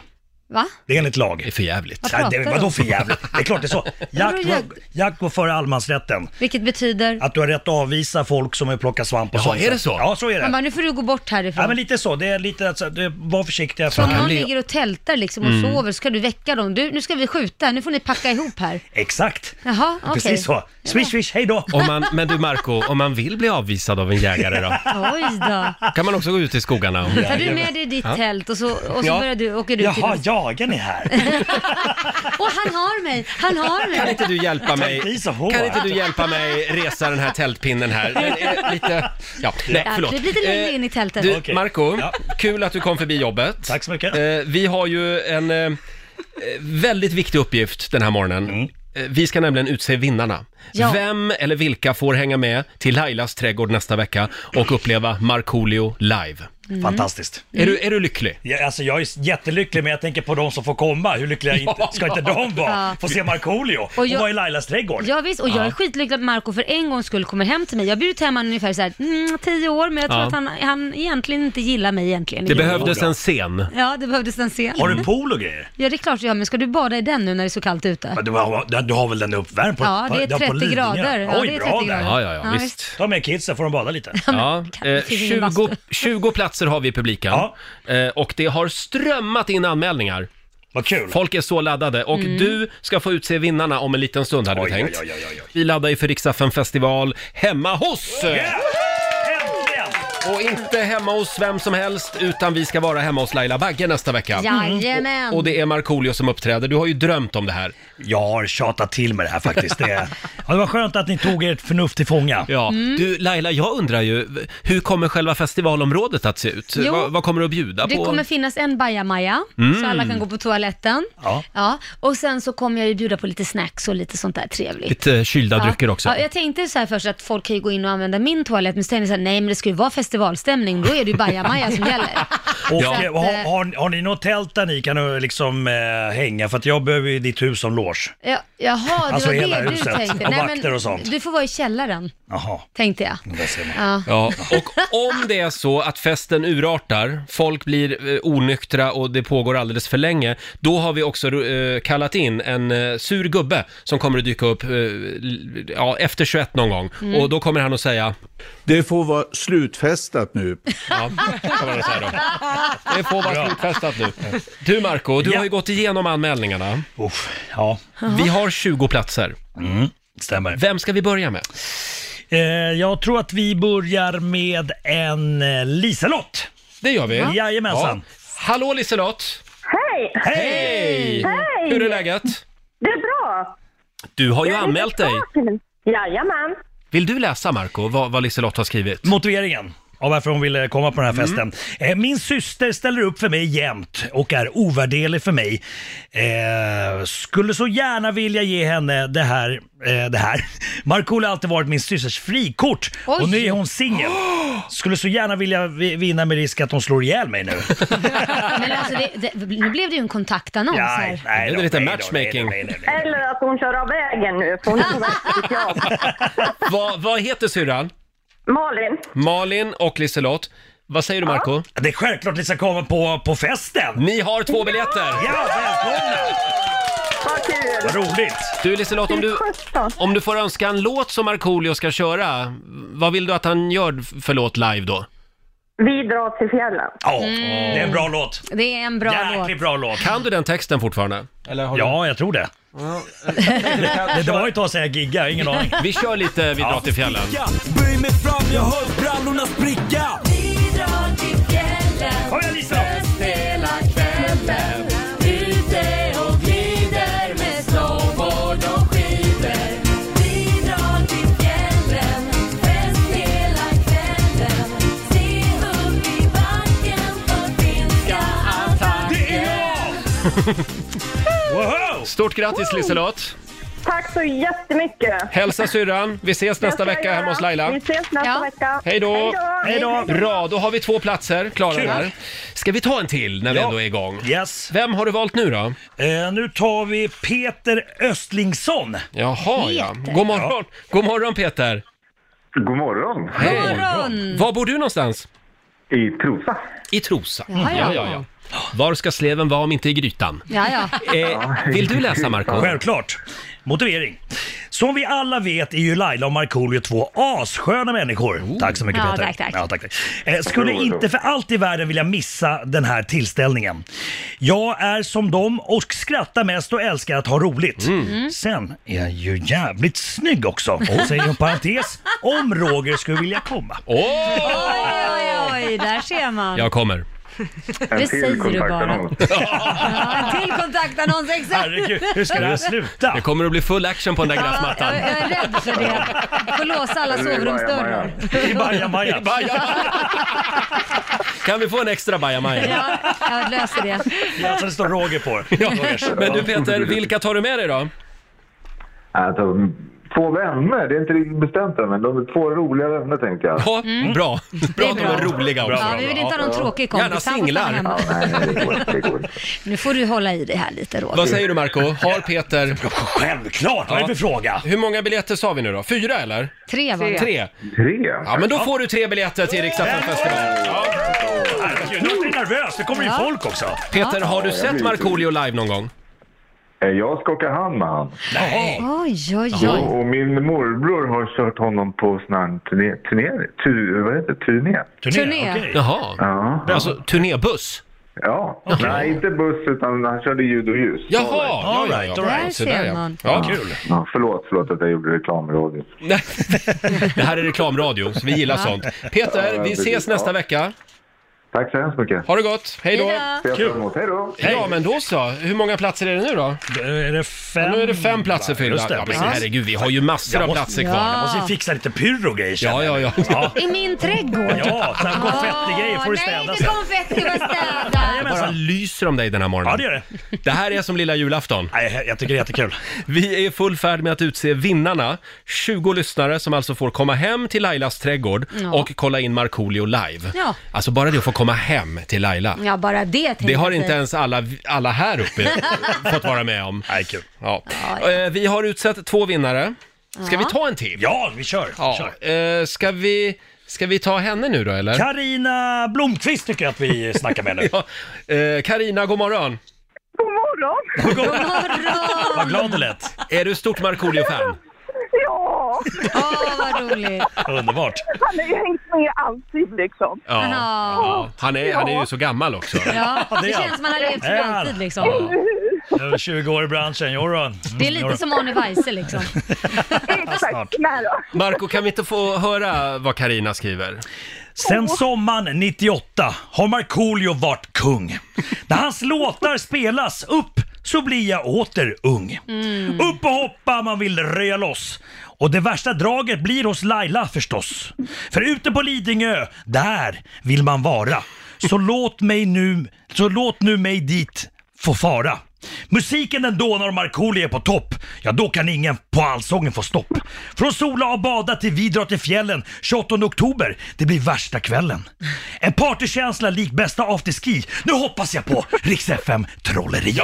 Speaker 4: Va?
Speaker 7: Det är enligt lag.
Speaker 1: Det är för jävligt.
Speaker 4: Vad
Speaker 7: Ja, det,
Speaker 4: pratar
Speaker 7: vadå
Speaker 4: du?
Speaker 7: för jävligt? Det är klart det är så. Jakt,
Speaker 4: Vadå
Speaker 7: går-
Speaker 4: jakt?
Speaker 7: jakt går före allemansrätten.
Speaker 4: Vilket betyder?
Speaker 7: Att du har rätt att avvisa folk som vill plocka svamp och
Speaker 1: Jaha,
Speaker 7: sånt.
Speaker 1: är det så?
Speaker 7: Ja, så är
Speaker 4: Man bara,
Speaker 7: det.
Speaker 4: nu får du gå bort härifrån.
Speaker 7: Ja, men lite så. Det är lite, alltså, det, var försiktiga.
Speaker 4: Så om
Speaker 7: för-
Speaker 4: någon
Speaker 1: bli-
Speaker 4: ligger och tältar liksom och sover, ska du väcka dem? Du, nu ska vi skjuta, nu får ni packa ihop här.
Speaker 7: Exakt.
Speaker 4: Jaha, okej.
Speaker 7: Precis så. Swish, swish, hej då.
Speaker 1: Om man, men du Marco, om man vill bli avvisad av en jägare då?
Speaker 4: Oj då.
Speaker 1: Kan man också gå ut i skogarna?
Speaker 4: Tar du med dig ditt tält och så, och så
Speaker 1: Ja.
Speaker 4: börjar du, åker du till
Speaker 7: Jaha,
Speaker 4: någon-
Speaker 7: jagen är här.
Speaker 4: Åh, han har mig! Han har
Speaker 1: Kan
Speaker 4: mig!
Speaker 1: inte du hjälpa mig?
Speaker 7: Tänk dig så hårt.
Speaker 1: Kan inte du hjälpa mig resa den här tältpinnen här? Den är lite... Ja, nej,
Speaker 4: Ja,
Speaker 1: förlåt.
Speaker 4: det blir lite längre
Speaker 1: Eh,
Speaker 4: in i tältet.
Speaker 1: Du,
Speaker 7: Okej.
Speaker 1: Marco,
Speaker 7: Ja.
Speaker 1: kul att du kom förbi jobbet.
Speaker 7: Tack så mycket.
Speaker 1: Eh, vi har ju en eh, eh, väldigt viktig uppgift den här morgonen.
Speaker 7: Mm.
Speaker 1: Eh, Vi ska nämligen utse vinnarna.
Speaker 4: Ja.
Speaker 1: Vem eller vilka får hänga med till Lailas trädgård nästa vecka och uppleva Markoolio live?
Speaker 7: Fantastiskt.
Speaker 1: Är, du, är du lycklig?
Speaker 7: Ja, alltså jag är jättelycklig men jag tänker på de som får komma. Hur lyckliga inte, ska inte de vara? Få se Markoolio och,
Speaker 4: jag-
Speaker 7: vara i Lailas trädgård.
Speaker 4: Ja, visst, och jag är skitlycklig att Marco för en gångs skull kommer hem till mig. Jag har bjudit hem honom ungefär så här, mm, tio år, men jag tror
Speaker 1: Ja.
Speaker 4: att han, han egentligen inte gillar mig egentligen.
Speaker 1: Det behövdes
Speaker 7: bra.
Speaker 1: en scen.
Speaker 4: Ja, det behövdes en scen.
Speaker 7: Har du pool och grejer?
Speaker 4: Ja, det är klart jag har, men ska du bada i den nu när det är så kallt ute?
Speaker 7: Men Du har, du har väl den uppvärmd på
Speaker 4: Ja, det är
Speaker 7: på
Speaker 4: 30
Speaker 7: Lidingö?
Speaker 4: grader. Ja,
Speaker 7: Oj,
Speaker 4: det är
Speaker 7: bra
Speaker 4: 30
Speaker 7: där.
Speaker 4: grader.
Speaker 1: Ja, ja, ja,
Speaker 4: Ja,
Speaker 1: visst.
Speaker 4: visst.
Speaker 7: Ta med kidsen får de bada lite.
Speaker 1: Ja, eh,
Speaker 4: det finns ingen
Speaker 1: 20,
Speaker 4: bastu.
Speaker 1: 20 platser har vi i publiken
Speaker 7: Ja.
Speaker 1: eh, och det har strömmat in anmälningar.
Speaker 7: Vad kul.
Speaker 1: Folk är så laddade och
Speaker 4: Mm.
Speaker 1: du ska få utse vinnarna om en liten stund hade vi
Speaker 7: Oj,
Speaker 1: tänkt.
Speaker 7: oj, oj, oj, oj.
Speaker 1: Vi laddar ju för Riksaffen festival hemma hos!
Speaker 7: Yeah! Äntligen!
Speaker 1: Och inte hemma hos vem som helst utan vi ska vara hemma hos Laila Bagge nästa vecka.
Speaker 4: Jajamän!
Speaker 1: Och det är Markoolio som uppträder. Du har ju drömt om det här.
Speaker 7: Jag har tjatat till med det här faktiskt. Det, är- ja, det var skönt att ni tog ert förnuft till fånga.
Speaker 1: Ja. Du Laila, jag undrar ju, hur kommer själva festivalområdet att se ut?
Speaker 4: Jo.
Speaker 1: Vad, vad kommer du att bjuda
Speaker 4: Det
Speaker 1: på? Mm.
Speaker 4: kommer finnas en bajamaja, så alla kan gå på toaletten.
Speaker 7: Ja.
Speaker 4: Och sen så kommer jag ju bjuda på lite snacks och lite sånt där trevligt.
Speaker 1: Lite kylda drycker också.
Speaker 4: Ja, jag tänkte så här först att folk kan ju gå in och använda min toalett, men så tänkte jag så här, nej men det ska ju vara festivalstämning, då är det ju bajamaja som gäller.
Speaker 7: Och,
Speaker 1: Ja.
Speaker 7: eh, har, har, har ni något tält där ni kan eh, liksom eh, hänga? För att jag behöver ju ditt hus som loge.
Speaker 4: Ja, jaha, det
Speaker 7: Alltså,
Speaker 4: var
Speaker 7: hela
Speaker 4: det du
Speaker 7: huset.
Speaker 4: tänkte.
Speaker 7: Och vakter och sånt.
Speaker 4: Du får vara i källaren,
Speaker 7: Jaha,
Speaker 4: tänkte jag.
Speaker 7: där ser man.
Speaker 4: Ja.
Speaker 1: Ja, och om det är så att festen urartar, folk blir eh, onyktra och det pågår alldeles för länge, då har vi också eh, kallat in en eh, sur gubbe som kommer att dyka upp eh, l- ja, efter 21 någon gång.
Speaker 7: Mm.
Speaker 1: Och då kommer han att säga,
Speaker 8: Det får vara slutfestat nu.
Speaker 1: ja, kan man väl säga då. Det får vara slutfestat nu. Du Marco, du
Speaker 7: Ja.
Speaker 1: har ju gått igenom anmälningarna.
Speaker 7: Uff, ja, Mm,
Speaker 1: Vi har 20 platser.
Speaker 7: stämmer.
Speaker 1: Vem ska vi börja med?
Speaker 7: Eh, jag tror att vi börjar med en eh, Liselott.
Speaker 1: Det gör vi.
Speaker 7: Jajamensan.
Speaker 1: Hallå Liselott!
Speaker 7: Hej!
Speaker 1: Hej! Hur är läget?
Speaker 10: Det är bra!
Speaker 1: Du har ju anmält dig.
Speaker 10: Jajamän.
Speaker 1: Vill du läsa, Marco, vad, vad Liselott har skrivit? Mm.
Speaker 7: Motiveringen av varför hon ville komma på den här festen. Eh, Min syster ställer upp för mig jämt och är ovärderlig för mig. Eh, skulle så gärna vilja ge henne det här. Eh, det här. Markoolio har alltid varit min systers frikort och nu är hon singel. Skulle så gärna vilja vi- vinna med risk att hon slår ihjäl mig nu.
Speaker 4: Men alltså, det, det, nu blev det ju en kontaktannons här.
Speaker 7: nej
Speaker 1: det är
Speaker 7: då,
Speaker 1: lite
Speaker 7: nej då,
Speaker 1: matchmaking.
Speaker 10: Eller att hon kör av vägen nu, för hon
Speaker 4: Ah.
Speaker 10: är på väg till sitt jobb.
Speaker 1: Vad, vad heter syrran?
Speaker 10: Malin,
Speaker 1: Malin och Liselott. Vad säger du, Marco?
Speaker 7: Det är självklart Lisa kommer på, på festen.
Speaker 1: Ni har två biljetter!
Speaker 7: Ja, välkomna!
Speaker 10: vad kul!
Speaker 7: Vad roligt!
Speaker 1: Du, Liselott, om du,
Speaker 10: Sjutton.
Speaker 1: om du får önska en låt som Markoolio ska köra, vad vill du att han gör f- för låt live då?
Speaker 10: Vi drar till fjällen.
Speaker 7: Ja, det är en bra låt.
Speaker 4: Mm. Det är en bra
Speaker 7: Jäkligt
Speaker 4: låt.
Speaker 7: bra låt.
Speaker 1: Kan du den texten fortfarande? Eller har
Speaker 7: Ja, eh, jag tror det. det, det var ju ett tag sedan jag giggade, ingen aning.
Speaker 1: Vi kör lite Vi drar till fjällen.
Speaker 3: Böj mig fram, jag hör brallorna spricka.
Speaker 7: Kom igen Lisa! Det är jag! Wow!
Speaker 1: Stort grattis Liselott!
Speaker 10: Tack så jättemycket!
Speaker 1: Hälsa syrran, vi ses
Speaker 10: Det
Speaker 1: nästa
Speaker 10: ska jag
Speaker 1: vecka hemma
Speaker 10: göra.
Speaker 1: hos Laila.
Speaker 10: Vi ses nästa
Speaker 4: Ja.
Speaker 10: vecka.
Speaker 1: Hej då!
Speaker 7: Hej då!
Speaker 1: Bra, då har vi två platser klara
Speaker 7: Kul.
Speaker 1: där. Ska vi ta en till när vi
Speaker 7: Ja.
Speaker 1: ändå är igång?
Speaker 7: Yes.
Speaker 1: Vem har du valt nu då?
Speaker 7: Eh, nu tar vi Peter Östlingsson.
Speaker 1: Jaha, ja. God morgon, God morgon Peter!
Speaker 11: God morgon!
Speaker 1: Hej.
Speaker 4: God morgon!
Speaker 1: Var bor du någonstans?
Speaker 11: I Trosa.
Speaker 1: I Trosa.
Speaker 4: Jaha, ja.
Speaker 1: Var ska sleven vara om inte i grytan?
Speaker 4: Ja, ja.
Speaker 1: Eh, vill du läsa Marco?
Speaker 7: Självklart. Motivering. Som vi alla vet är ju Laila och Markoolio två assköna människor. Tack så mycket
Speaker 4: Ja,
Speaker 7: Peter.
Speaker 4: tack, tack.
Speaker 7: Ja, tack, tack. Eh, skulle inte för allt i världen vilja missa den här tillställningen. Jag är som dem och skrattar mest och älskar att ha roligt.
Speaker 1: Mm.
Speaker 4: Mm.
Speaker 7: Sen är jag ju jävligt snygg också.
Speaker 1: Oh.
Speaker 7: Och säger en parentes, om Roger skulle vilja komma.
Speaker 1: Åh!
Speaker 4: Oj, oj, oj, där ser man.
Speaker 1: Jag kommer.
Speaker 11: En
Speaker 4: Det säger
Speaker 11: till
Speaker 4: du
Speaker 11: kontaktannons.
Speaker 4: Ja, en till kontaktannons, exakt.
Speaker 7: Herregud, hur ska det här sluta?
Speaker 1: Det kommer att bli full action på den där
Speaker 4: Ja, jag,
Speaker 1: gräsmattan.
Speaker 4: jag är rädd för det. Får låsa alla
Speaker 11: Eller
Speaker 4: sovrumsdörrar.
Speaker 7: I bajamaja.
Speaker 1: Kan vi få en extra bajamaja?
Speaker 4: Ja, jag löser det.
Speaker 7: Ja, Alltså det står Roger på
Speaker 1: Ja.
Speaker 7: Rogers.
Speaker 1: Men du Peter, vilka tar du med dig då?
Speaker 11: Alltså, två vänner, det är inte riktigt bestämt än, men de är två roliga vänner tänkte jag.
Speaker 1: Ja, bra. Bra att de är
Speaker 4: Mm. bra.
Speaker 1: roliga också.
Speaker 4: Ja, vi vill inte ha någon tråkig kompis.
Speaker 1: Gärna
Speaker 4: Han får stanna
Speaker 1: singlar.
Speaker 4: hemma.
Speaker 11: Ja, nej, nej, det går, det går.
Speaker 4: Nu får du hålla i det här lite Roger.
Speaker 1: Vad säger du Marco? Har Peter...
Speaker 7: Självklart! Vad är det för fråga?
Speaker 1: Hur många biljetter sa vi nu då? Fyra eller?
Speaker 4: Tre var det.
Speaker 1: Tre?
Speaker 11: Tre?
Speaker 1: Ja, men då får du tre biljetter till Riksdagen festival.
Speaker 7: Herregud, nu blir jag nervös. Det kommer in
Speaker 4: Ja.
Speaker 7: folk också.
Speaker 1: Peter, har du
Speaker 11: jag
Speaker 1: sett
Speaker 11: blir-
Speaker 1: Markoolio live någon gång?
Speaker 11: Eh, Jag ska åka hand med han.
Speaker 7: Nej.
Speaker 4: Oj, oj, oj.
Speaker 11: Och, och min morbror har kört honom på sån här turné, turné, tur, vad heter det? turné.
Speaker 7: Turné,
Speaker 4: Turné.
Speaker 7: okej.
Speaker 1: Jaha.
Speaker 11: Ja.
Speaker 1: Alltså turnébuss?
Speaker 11: ja. Nej, inte buss utan han körde ljud och ljus.
Speaker 1: Jaha!
Speaker 7: All
Speaker 1: ja, ja,
Speaker 7: right,
Speaker 1: ja.
Speaker 7: all
Speaker 4: Där
Speaker 1: Så där,
Speaker 4: ser
Speaker 1: ja.
Speaker 4: man.
Speaker 1: Ja.
Speaker 7: Kul.
Speaker 11: Ja, förlåt, förlåt att jag gjorde reklamradio.
Speaker 1: Nej, Det här är reklamradio, så vi gillar sånt. Peter, vi ses nästa vecka.
Speaker 11: Tack så hemskt mycket.
Speaker 1: Ha det gott, hej då!
Speaker 4: Ja.
Speaker 11: Ses fram emot. Hej då!
Speaker 1: Ja, men då så. Hur många platser är det nu då?
Speaker 7: Då Är det fem?
Speaker 1: Nu är det fem platser fyllda.
Speaker 7: Just det.
Speaker 1: Ja, men
Speaker 7: Ja.
Speaker 1: herregud, vi har ju massor av
Speaker 7: Jag måste-
Speaker 1: platser
Speaker 7: Jag
Speaker 1: kvar.
Speaker 7: måste ju fixa lite pyro och grejer
Speaker 1: Ja,
Speaker 7: känner jag.
Speaker 1: ja, ja.
Speaker 4: I min trädgård. Ah,
Speaker 7: Ja, sån här konfettigrejer får du
Speaker 4: Nej,
Speaker 7: städa
Speaker 4: inte
Speaker 7: sen.
Speaker 4: konfetti, vad städa.
Speaker 1: Bara lyser om dig den här morgonen.
Speaker 7: Ja, det gör det.
Speaker 1: Det här är som lilla julafton.
Speaker 7: Nej, jag tycker det är jättekul.
Speaker 1: Vi är i full färd med att utse vinnarna. 20 lyssnare som alltså får komma hem till Lailas trädgård
Speaker 4: Ja.
Speaker 1: och kolla in Markoolio live.
Speaker 4: Ja.
Speaker 1: Alltså bara det att få komma hem till Laila.
Speaker 4: Ja, bara det tänkte
Speaker 1: Det har
Speaker 4: jag
Speaker 1: inte
Speaker 4: säga.
Speaker 1: ens alla, alla här uppe fått vara med om.
Speaker 7: Nej, kul.
Speaker 1: Ja. Eh, Vi har utsett två vinnare. Ska vi ta en till?
Speaker 7: Ja, vi kör.
Speaker 1: Ja.
Speaker 7: Kör.
Speaker 1: Eh, Ska, vi, ska vi ta henne nu då eller?
Speaker 7: Carina Blomqvist tycker jag att vi snackar med nu.
Speaker 1: Ja. Eh, Carina, god morgon.
Speaker 10: God morgon!
Speaker 7: God morgon.
Speaker 4: Bra!
Speaker 7: Vad glad det lät.
Speaker 1: Är du stort Markoolio-fan?
Speaker 10: Ja,
Speaker 4: Åh, vad roligt.
Speaker 7: Underbart.
Speaker 10: han har ju hängt med alltid liksom.
Speaker 1: Ja.
Speaker 4: Ja.
Speaker 1: ja. Han, är, han är ju så gammal också.
Speaker 4: Ja,
Speaker 7: det
Speaker 4: det
Speaker 7: är
Speaker 4: känns som man har levt för
Speaker 7: Ja.
Speaker 4: alltid liksom.
Speaker 7: Över 20 år i branschen. Jodå. Mm,
Speaker 4: Det är lite
Speaker 7: jodå.
Speaker 4: som Arne Weise liksom.
Speaker 7: snart.
Speaker 10: Exakt, nära.
Speaker 1: Marco, kan vi inte få höra vad Karina skriver?
Speaker 7: Sen sommaren 98 har Markoolio varit kung. När hans låtar spelas
Speaker 4: Mm.
Speaker 7: upp så blir jag åter ung. Upp och hoppa, man vill röja loss. Och det värsta draget blir hos Laila förstås. För ute på Lidingö, där vill man vara. Så låt mig nu, så låt nu mig dit få fara. Musiken den dånar och Markoolio är på topp. Ja, då kan ingen på allsången få stopp. Från sola och bada till vi drar till fjällen 28 oktober. Det blir värsta kvällen. En partykänsla lik bästa afterski. Nu hoppas jag på Rix FM trolleri.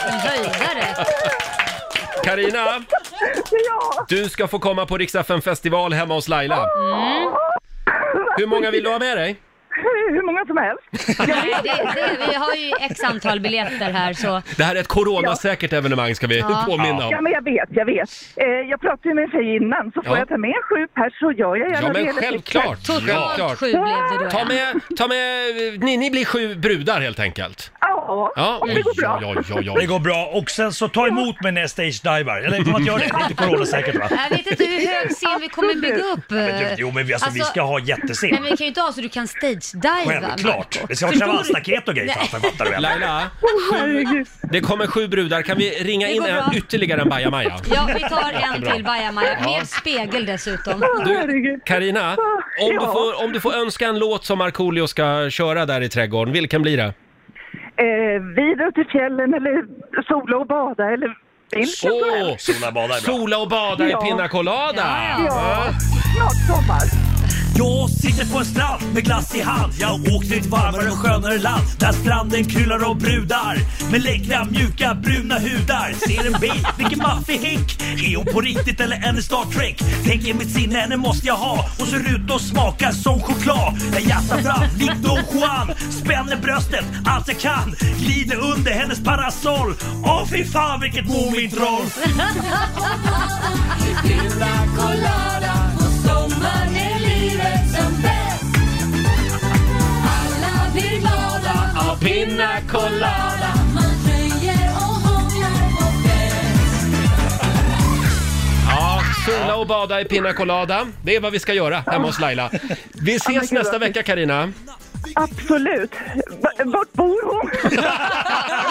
Speaker 4: Höjdare.
Speaker 1: Karina,
Speaker 10: Ja,
Speaker 1: du ska få komma på Riksdagen festival hemma hos Laila.
Speaker 4: Mm.
Speaker 1: Hur många vill du ha med dig?
Speaker 10: hur många som helst.
Speaker 4: Nej, det, det, vi har ju x antal biljetter här så...
Speaker 1: Det här är ett coronasäkert evenemang ska vi
Speaker 4: Ja.
Speaker 1: påminna
Speaker 10: Ja,
Speaker 1: om.
Speaker 10: men jag vet, jag vet. Eh, jag pratade ju med en tjej innan, så får
Speaker 1: Ja.
Speaker 10: jag ta med sju pers så gör jag
Speaker 1: Ja
Speaker 10: gärna det.
Speaker 1: men
Speaker 10: eller
Speaker 1: självklart!
Speaker 10: sex.
Speaker 1: självklart.
Speaker 4: Totalt sju blev det då.
Speaker 1: Ta
Speaker 4: ja.
Speaker 1: med, ta med, ni, ni blir sju brudar helt enkelt.
Speaker 10: Ja,
Speaker 1: Ja,
Speaker 10: om det går bra.
Speaker 1: Oj, oj, oj,
Speaker 7: Det
Speaker 1: oj.
Speaker 7: går bra och sen så ta emot mig när jag stage-divar. Eller får man inte göra det? Det är inte coronasäkert va?
Speaker 4: Jag vet inte hur hög scen vi kommer bygga upp.
Speaker 7: Men du, jo men vi, alltså, vi ska ha
Speaker 4: Nej
Speaker 7: jättescen.
Speaker 4: men vi kan ju inte ha så du kan stage-diva.
Speaker 7: Självklart.
Speaker 4: Marco.
Speaker 7: Det ska vara
Speaker 4: Förstår du?
Speaker 7: kravallstaket och grejer
Speaker 4: Nej.
Speaker 7: framför, fattar du väl?
Speaker 1: Laila, sju, det kommer sju brudar. Kan vi ringa
Speaker 4: Det
Speaker 1: in
Speaker 4: går
Speaker 1: en,
Speaker 4: bra.
Speaker 1: ytterligare en bajamaja?
Speaker 4: Ja, vi tar en till bajamaja. Med spegel dessutom.
Speaker 1: Du, Carina, om, du
Speaker 10: Ja.
Speaker 1: får, om du får önska en låt som Markoolio ska köra där i trädgården, vilken blir det?
Speaker 10: Eh, vidare till fjällen eller sola och bada eller vilken som helst.
Speaker 1: Åh,
Speaker 7: Sola badar är bra.
Speaker 1: sola och bada i
Speaker 10: Ja.
Speaker 1: Pina Colada!
Speaker 10: Ja, snart sommar.
Speaker 3: Jag sitter på en strand med glass i hand Jag åkte till ett varmare och skönare land Där stranden kryllar av brudar Med läckra, mjuka, bruna hudar Ser en bil, vilken maffig häck Är hon på riktigt eller en Star Trek? Tänker mitt sinne, henne måste jag ha Hon ser ut och smakar som choklad Jag jassar fram, likt Don Juan Spänner bröstet allt jag kan Glider under hennes parasoll Åh fy fan vilket Mumintroll!
Speaker 1: Pina Colada! Ja, sola och bada i Pina Colada. Det är vad vi ska göra hemma hos Laila. Vi ses nästa vecka Carina.
Speaker 10: Absolut. B- Vart bor hon?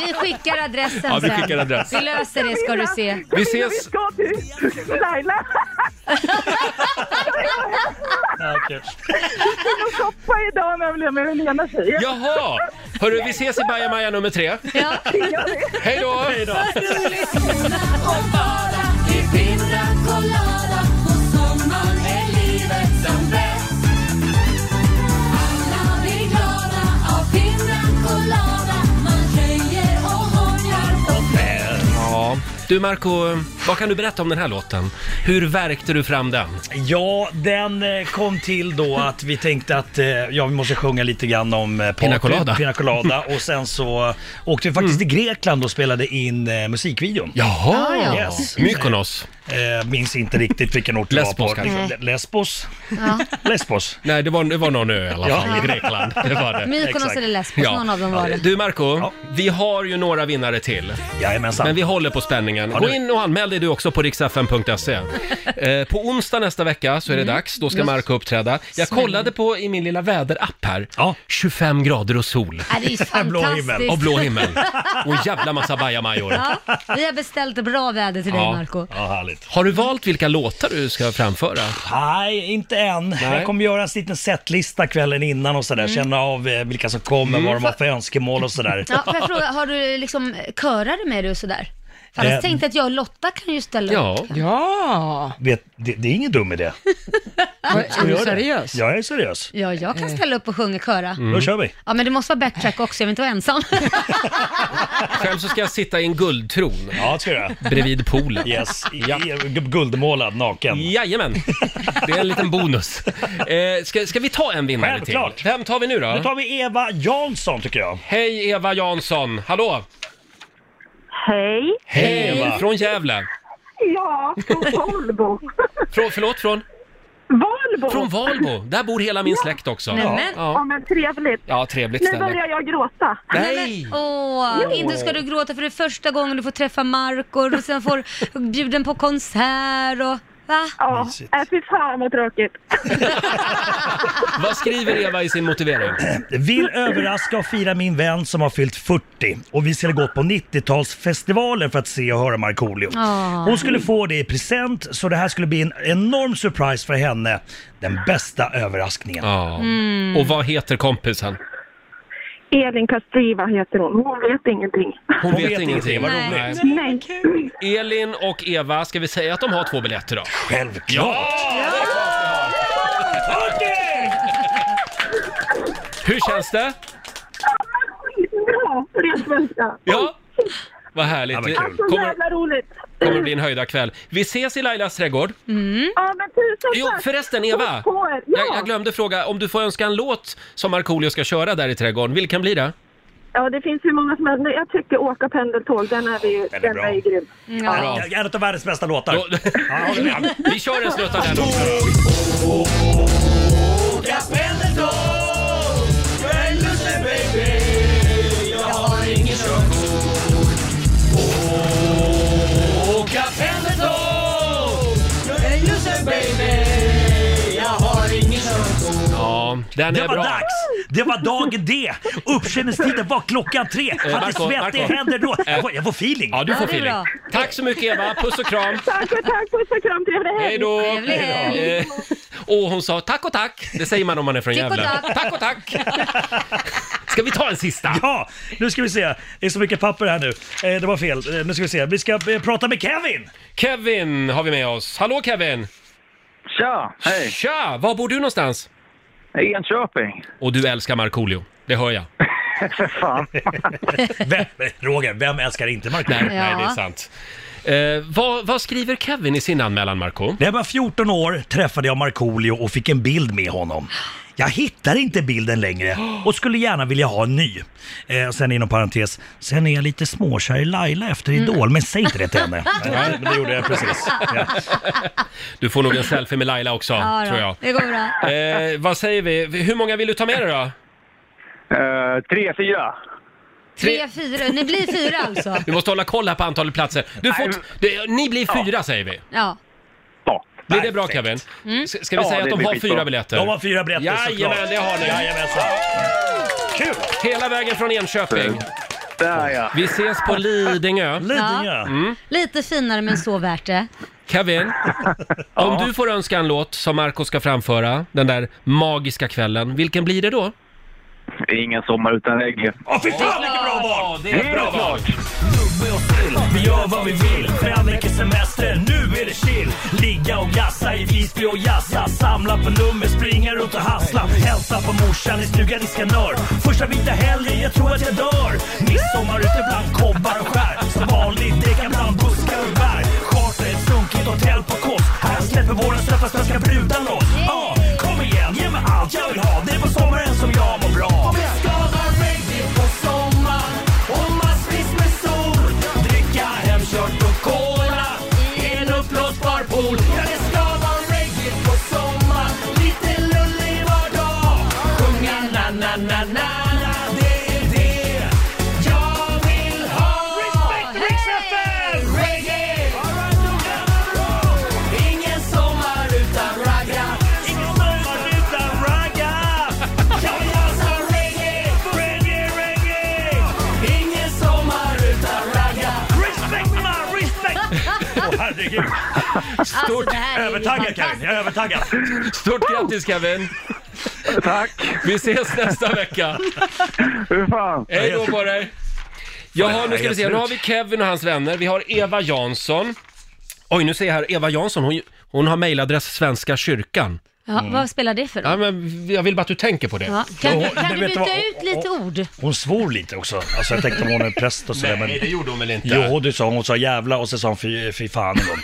Speaker 4: Vi skickar adressen
Speaker 1: Ja, vi
Speaker 4: sen.
Speaker 1: skickar adress.
Speaker 4: Vi löser det ska du se.
Speaker 1: Vi
Speaker 10: Camilla,
Speaker 1: ses.
Speaker 10: Vi ska till Laila. Jag shoppar idag när jag blev med Helena tjejen.
Speaker 1: Jaha! Hörru, vi ses i Bajamaja nummer tre.
Speaker 4: Ja.
Speaker 1: Hej då! Ja. Du Marco, vad kan du berätta om den här låten? Hur värkte du fram den?
Speaker 7: Ja, den eh, kom till då att vi tänkte att eh, ja, vi måste sjunga lite grann om eh,
Speaker 1: Pina
Speaker 7: party,
Speaker 1: Colada. Mm.
Speaker 7: Pina Colada och sen så åkte vi faktiskt till Grekland och spelade in eh, musikvideon.
Speaker 1: Jaha!
Speaker 4: Ah, Ja,
Speaker 7: Yes.
Speaker 1: Mykonos.
Speaker 7: Eh, minns inte riktigt vilken ort det
Speaker 1: Lesbos
Speaker 7: var på.
Speaker 1: kanske?
Speaker 7: Le- Lesbos?
Speaker 4: Ja.
Speaker 7: Lesbos?
Speaker 1: Nej, det var, det var någon ö i alla
Speaker 7: Ja.
Speaker 1: fall, i Grekland. Det var det.
Speaker 4: Mykonos
Speaker 7: Exakt.
Speaker 4: eller Lesbos, någon av dem var det.
Speaker 1: Du Marco, vi har ju några vinnare till.
Speaker 7: Jajamensan.
Speaker 1: Men vi håller på spänningen. Gå in och anmäl dig du också på riksfn.se. Eh, på onsdag nästa vecka så är det
Speaker 4: Mm.
Speaker 1: dags, då ska Marco uppträda. Jag kollade på i min lilla väderapp här.
Speaker 7: Ja.
Speaker 1: 25 grader och sol.
Speaker 4: Ja, det är ju
Speaker 7: blå himmel.
Speaker 1: Och
Speaker 4: fantastiskt.
Speaker 1: blå himmel. Och en jävla massa bajamajor.
Speaker 4: Ja, vi har beställt bra väder till dig
Speaker 1: Ja.
Speaker 4: Marco.
Speaker 7: Ja, härligt.
Speaker 1: Har du valt vilka låtar du ska framföra?
Speaker 7: Nej, inte än. Jag kommer göra en liten setlista kvällen innan och sådär.
Speaker 4: Mm.
Speaker 7: Känna av eh, vilka som
Speaker 1: Mm.
Speaker 7: kommer, vad de har för önskemål och sådär.
Speaker 4: Ja, får jag fråga, har du liksom körare med dig och sådär? För
Speaker 7: Eh,
Speaker 4: Annars tänkte jag att jag och Lotta kan ju ställa upp.
Speaker 1: Ja,
Speaker 2: Ja,
Speaker 7: Vet, det, det är ingen dum idé.
Speaker 2: är du
Speaker 7: Gör det.
Speaker 2: seriös?
Speaker 7: Jag är seriös.
Speaker 4: Ja, jag kan ställa upp och sjunga köra.
Speaker 1: Mm.
Speaker 7: Då kör vi.
Speaker 4: Ja, men det måste vara backtrack också, jag vill inte vara ensam.
Speaker 1: själv så ska jag sitta i en guldtron
Speaker 7: Ja, det ska jag göra.
Speaker 1: bredvid poolen.
Speaker 7: Yes, I- i- guldmålad naken.
Speaker 1: Jajamän, det är en liten bonus. Eh, ska, ska vi ta en vinnare till?
Speaker 7: Självklart.
Speaker 1: Vem tar vi
Speaker 7: Nu
Speaker 1: nu då?
Speaker 7: tar vi Eva Jansson tycker jag.
Speaker 1: Hej Eva Jansson, hallå!
Speaker 10: Hej.
Speaker 1: Hej
Speaker 7: Eva.
Speaker 1: Från Gävle.
Speaker 10: Ja, från Valbo.
Speaker 1: Från, förlåt, från?
Speaker 10: Valbo?
Speaker 1: Från Valbo. Där bor hela min släkt också.
Speaker 4: Nämen.
Speaker 10: Ja,
Speaker 1: Ja,
Speaker 10: men trevligt.
Speaker 1: ja trevligt
Speaker 10: Nu
Speaker 1: ställe.
Speaker 10: börjar jag gråta.
Speaker 1: Nej!
Speaker 4: Åh, inte ska du gråta för det är första gången du får träffa Marco och sen får bjuden på konsert och... Va?
Speaker 10: Ja, äh, fy fan vad tråkigt.
Speaker 1: Vad skriver Eva i sin motivering?
Speaker 7: Vill överraska och fira min vän som har fyllt 40 och vi skulle gått på 90-talsfestivalen för att se och höra Markoolio.
Speaker 12: Ah.
Speaker 7: Hon skulle få det i present så det här skulle bli en enorm surprise för henne. Den bästa överraskningen.
Speaker 10: Mm. Och
Speaker 1: vad heter kompisen?
Speaker 10: Elin Kastriva heter hon. Hon vet ingenting.
Speaker 1: Hon vet ingenting, vad roligt.
Speaker 10: Nej.
Speaker 1: Elin och Eva, ska vi säga att de har två biljetter då?
Speaker 7: Självklart!
Speaker 1: Hur känns det?
Speaker 10: Bra, på det svenska.
Speaker 1: Ja, vad härligt. Det
Speaker 10: Alltså
Speaker 1: kommer,
Speaker 10: jävla roligt.
Speaker 1: kommer bli en höjda kväll. Vi ses i Lailas trädgård.
Speaker 4: Mm.
Speaker 10: Ja, men tusen
Speaker 1: Jo,
Speaker 10: tack.
Speaker 1: förresten Eva!
Speaker 10: Puss på er. Ja.
Speaker 1: Jag, jag glömde fråga, om du får önska en låt som Markoolio ska köra där i trädgården, vilken blir det?
Speaker 10: ja, det finns hur många som helst. Men Jag tycker åka pendeltåg, den är, vi, den är,
Speaker 7: bra.
Speaker 10: grym.
Speaker 1: Bra.
Speaker 7: Ja. En av världens bästa låtar.
Speaker 1: Vi kör en snutt av den också.
Speaker 3: Åka pendeltåg, jag är en lusse baby. Jag har ingen körkort. Åka pendeltåg, jag är en lusse baby. Jag har ingen körkort.
Speaker 1: Ja, den är
Speaker 7: det var
Speaker 1: bra.
Speaker 7: dags! Det var dag D! Uppkörningstiden var klockan tre.
Speaker 1: Eh,
Speaker 7: Hade
Speaker 1: Marco,
Speaker 7: svettig
Speaker 1: Marco.
Speaker 7: händer då.
Speaker 1: Eh.
Speaker 7: Jag får, jag får feeling.
Speaker 1: Ja, du får Ja, det är feeling. bra. Tack så mycket Eva, puss och kram.
Speaker 10: Tack och tack, puss och kram, trevlig helg.
Speaker 1: Hej då! Eh, Och hon sa tack och tack, det säger man om man är från
Speaker 10: Tack och
Speaker 1: Gävle.
Speaker 10: tack.
Speaker 1: Tack och tack! Ska vi ta en sista?
Speaker 7: Ja, nu ska vi se. Det är så mycket papper här nu. Eh, det var fel. Eh, nu ska vi se. Vi ska eh, prata med Kevin.
Speaker 1: Kevin har vi med oss. Hallå Kevin! Tja, hej! Tja! Var bor du någonstans? I Enköping. Och du älskar Markoolio, det hör jag.
Speaker 7: För fan. vem, Roger, vem älskar inte Marco?
Speaker 1: Nej, nej det är sant. Eh, vad, vad skriver Kevin i sin anmälan, Marco?
Speaker 7: När jag var 14 år träffade jag Markoolio och fick en bild med honom. Jag hittar inte bilden längre och skulle gärna vilja ha en ny. Eh, sen inom parentes, sen är jag lite småkär i Laila efter Idol, men säg inte det till henne.
Speaker 1: Nej,
Speaker 7: men det gjorde jag precis.
Speaker 1: Du får nog en selfie med Laila också,
Speaker 4: Ja, då.
Speaker 1: tror jag.
Speaker 4: Det går bra.
Speaker 1: Eh, vad säger vi? Hur många vill du ta med dig då? tre, fyra.
Speaker 4: Tre, fyra. Ni blir fyra alltså?
Speaker 1: Vi måste hålla koll här på antalet platser. Du får t- det, ni blir fyra säger vi.
Speaker 4: Ja.
Speaker 1: Blir det bra Kevin?
Speaker 4: Mm.
Speaker 1: S- Ska vi
Speaker 7: Ja,
Speaker 1: säga
Speaker 7: det
Speaker 1: att de
Speaker 7: blir
Speaker 1: har
Speaker 7: skitbra.
Speaker 1: fyra biljetter?
Speaker 7: De har fyra biljetter,
Speaker 1: Jajamän,
Speaker 7: såklart.
Speaker 1: det har ni.
Speaker 7: Jajamensan. Kul!
Speaker 1: Hela vägen från Enköping.
Speaker 6: Där ja.
Speaker 1: Vi ses på Lidingö.
Speaker 4: Lidingö.
Speaker 1: Mm.
Speaker 4: Lite finare men så värt det.
Speaker 1: Kevin, om du får önska en låt som Marco ska framföra den där magiska kvällen, vilken blir det då?
Speaker 6: Ingen sommar utan reggae.
Speaker 7: Åh fy fan vilket bra val!
Speaker 1: Det är bra val.
Speaker 3: Nubbe Mm. och sill, vi gör vad vi vill. Fem veckors semester, nu är det chill. Ligga och glassa i Visby och jassa. Samla på nummer, springa runt och hassla. Hälsa på morsan i stugan i Skanör. Första vita helgen, jag tror att jag dör. Midsommar ute bland kobbar och skär. Som vanligt, däckar bland buskar och bär. Charter ett sunkigt hotell på Kos. Här släpper våra söta svenska brudar loss. Ja, kom igen, ge mig allt jag vill ha. Det är på sommaren som jag mår bra. Om jag ska ha reggae på sommar och massvis med sol. Dricka hemkört och cola i en uppblåsbar pool. Ja, det ska vara reggae på sommar, lite lullig var dag. Sjunga na-na-na-na, det är det jag vill ha. Respect Rix FM! Reggae! Ingen sommar utan ragga. Ingen sommar utan ragga. Jag vill dansa reggae, reggae, reggae. Ingen sommar utan ragga. Respect my respect.
Speaker 7: Åh herregud.
Speaker 4: Stort
Speaker 7: Övertaggad Kevin, jag är övertaggad.
Speaker 1: Stort grattis Kevin! Tack! Vi ses nästa vecka!
Speaker 11: Hur fan?
Speaker 1: Hej då på dig! Jaha, nu ska vi se. Nu har vi Kevin och hans vänner. Vi har Eva Jansson. Oj, nu ser jag här. Eva Jansson, hon, hon har mejladress Svenska kyrkan.
Speaker 4: Ja, Vad spelar det för roll?
Speaker 1: Mm. Ja, men jag vill bara att du tänker på det.
Speaker 4: Ja. Kan, du, kan du byta ut lite ord?
Speaker 7: Hon svor lite också. Alltså jag tänkte om hon är präst och sådär.
Speaker 1: Nej, det gjorde hon väl inte?
Speaker 7: Jo, du sa hon sa jävla och så sa hon fy, fy fan en gång.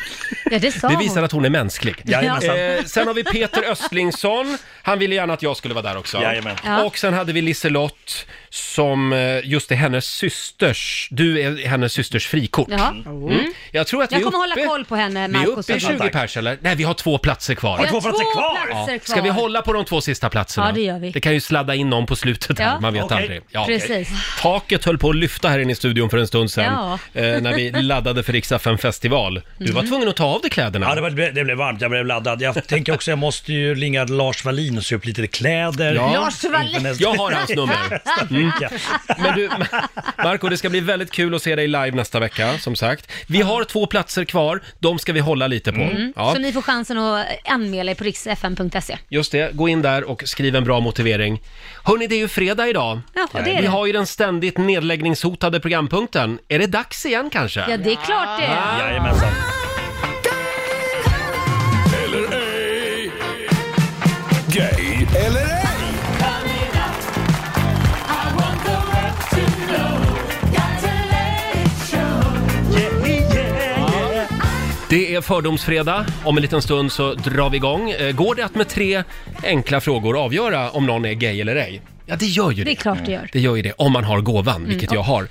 Speaker 4: Ja, det sa
Speaker 1: Det
Speaker 4: hon.
Speaker 1: visar att hon är mänsklig.
Speaker 7: Jajamensan.
Speaker 1: Eh, sen har vi Peter Östlingsson. Han ville gärna att jag skulle vara där också.
Speaker 7: Jajamän.
Speaker 4: Ja.
Speaker 1: Och sen hade vi Liselott som, eh, just är hennes systers, du är hennes systers frikort.
Speaker 4: Jaha.
Speaker 1: Mm. Jag tror att vi
Speaker 4: Jag
Speaker 1: är uppe,
Speaker 4: kommer hålla koll på henne,
Speaker 1: vi är
Speaker 4: Marcus.
Speaker 1: uppe i 20 pers eller? Nej, vi har två platser kvar.
Speaker 4: Vi har två platser kvar.
Speaker 1: Ja. Ska vi hålla på de två sista platserna?
Speaker 4: Ja, det gör vi.
Speaker 1: Det kan ju sladda in någon på slutet här,
Speaker 4: Ja.
Speaker 1: man vet
Speaker 4: Okej.
Speaker 1: aldrig.
Speaker 4: Precis.
Speaker 1: Taket höll på att lyfta här inne i studion för en stund sedan
Speaker 4: Ja.
Speaker 1: eh, när vi laddade för Rix FM festival. Du var
Speaker 7: Mm.
Speaker 1: tvungen att ta av dig kläderna.
Speaker 7: Ja, det, var, det blev varmt, jag blev laddad. Jag tänker också jag måste ju ringa Lars Wallin och sy upp lite kläder.
Speaker 1: Ja. Lars Wallin.
Speaker 7: Inför nästa-
Speaker 1: Jag har hans nummer.
Speaker 7: Nästa
Speaker 1: Mm.
Speaker 7: vecka.
Speaker 1: Men du, Marco, det ska bli väldigt kul att se dig live nästa vecka, som sagt. Vi har två platser kvar, de ska vi hålla lite på.
Speaker 4: Mm.
Speaker 1: Ja.
Speaker 4: Så ni får chansen att anmäla er på riksfn.se.
Speaker 1: Just det, gå in där och skriv en bra motivering. Hörni, det är ju fredag idag.
Speaker 4: Ja, det är
Speaker 1: Vi
Speaker 4: det.
Speaker 1: har ju den ständigt nedläggningshotade programpunkten. Är det dags igen kanske?
Speaker 4: Ja, det är klart det.
Speaker 1: Ah.
Speaker 7: Jajamensan.
Speaker 12: Eller ej. Gay eller ej.
Speaker 1: Det är Fördomsfredag. Om en liten stund så drar vi igång. Eh, Går det att med tre enkla frågor avgöra om någon är gay eller ej? Ja, det gör ju det.
Speaker 4: Det är klart det gör.
Speaker 1: Det gör ju det, om man har gåvan, vilket
Speaker 4: Mm.
Speaker 1: jag har.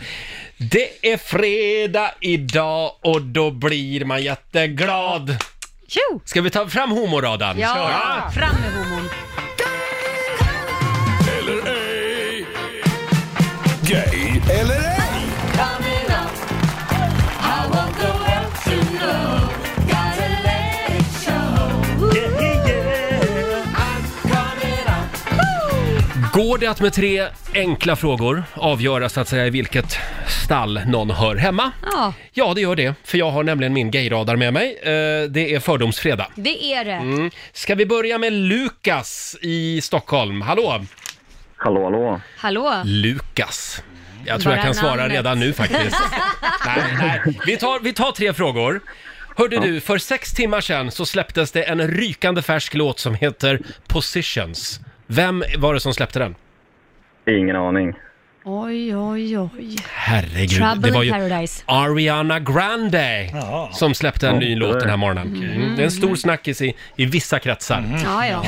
Speaker 1: Det är fredag idag och då blir man jätteglad.
Speaker 4: Jo.
Speaker 1: Ska vi ta fram homoradan?
Speaker 4: Ja, fram med homon.
Speaker 12: Eller ej. Gay eller ej.
Speaker 1: Går det att med tre enkla frågor avgöra så att säga i vilket stall någon hör hemma?
Speaker 4: Ja,
Speaker 1: Ja, det gör det, för jag har nämligen min gayradar med mig. Eh, Det är Fördomsfredag.
Speaker 4: det är det.
Speaker 1: Mm. Ska vi börja med Lukas i Stockholm? Hallå! Hallå, hallå!
Speaker 4: Hallå?
Speaker 1: Lukas. Jag tror
Speaker 4: Bara
Speaker 1: jag kan svara
Speaker 4: namnet.
Speaker 1: redan nu faktiskt. nej, nej. Vi, tar, vi tar tre frågor. Hörde du, för sex timmar sedan så släpptes det en rykande färsk låt som heter Positions. Vem var det som släppte den? Ingen aning.
Speaker 4: Oj, oj, oj.
Speaker 1: Herregud,
Speaker 4: Trouble
Speaker 1: det var
Speaker 4: in
Speaker 1: ju
Speaker 4: paradise.
Speaker 1: Ariana Grande som släppte en
Speaker 12: Ja,
Speaker 1: ny
Speaker 12: det
Speaker 1: låt
Speaker 12: där.
Speaker 1: den här morgonen. Mm. Det är en stor snackis i, i vissa kretsar.
Speaker 4: Ja, ja.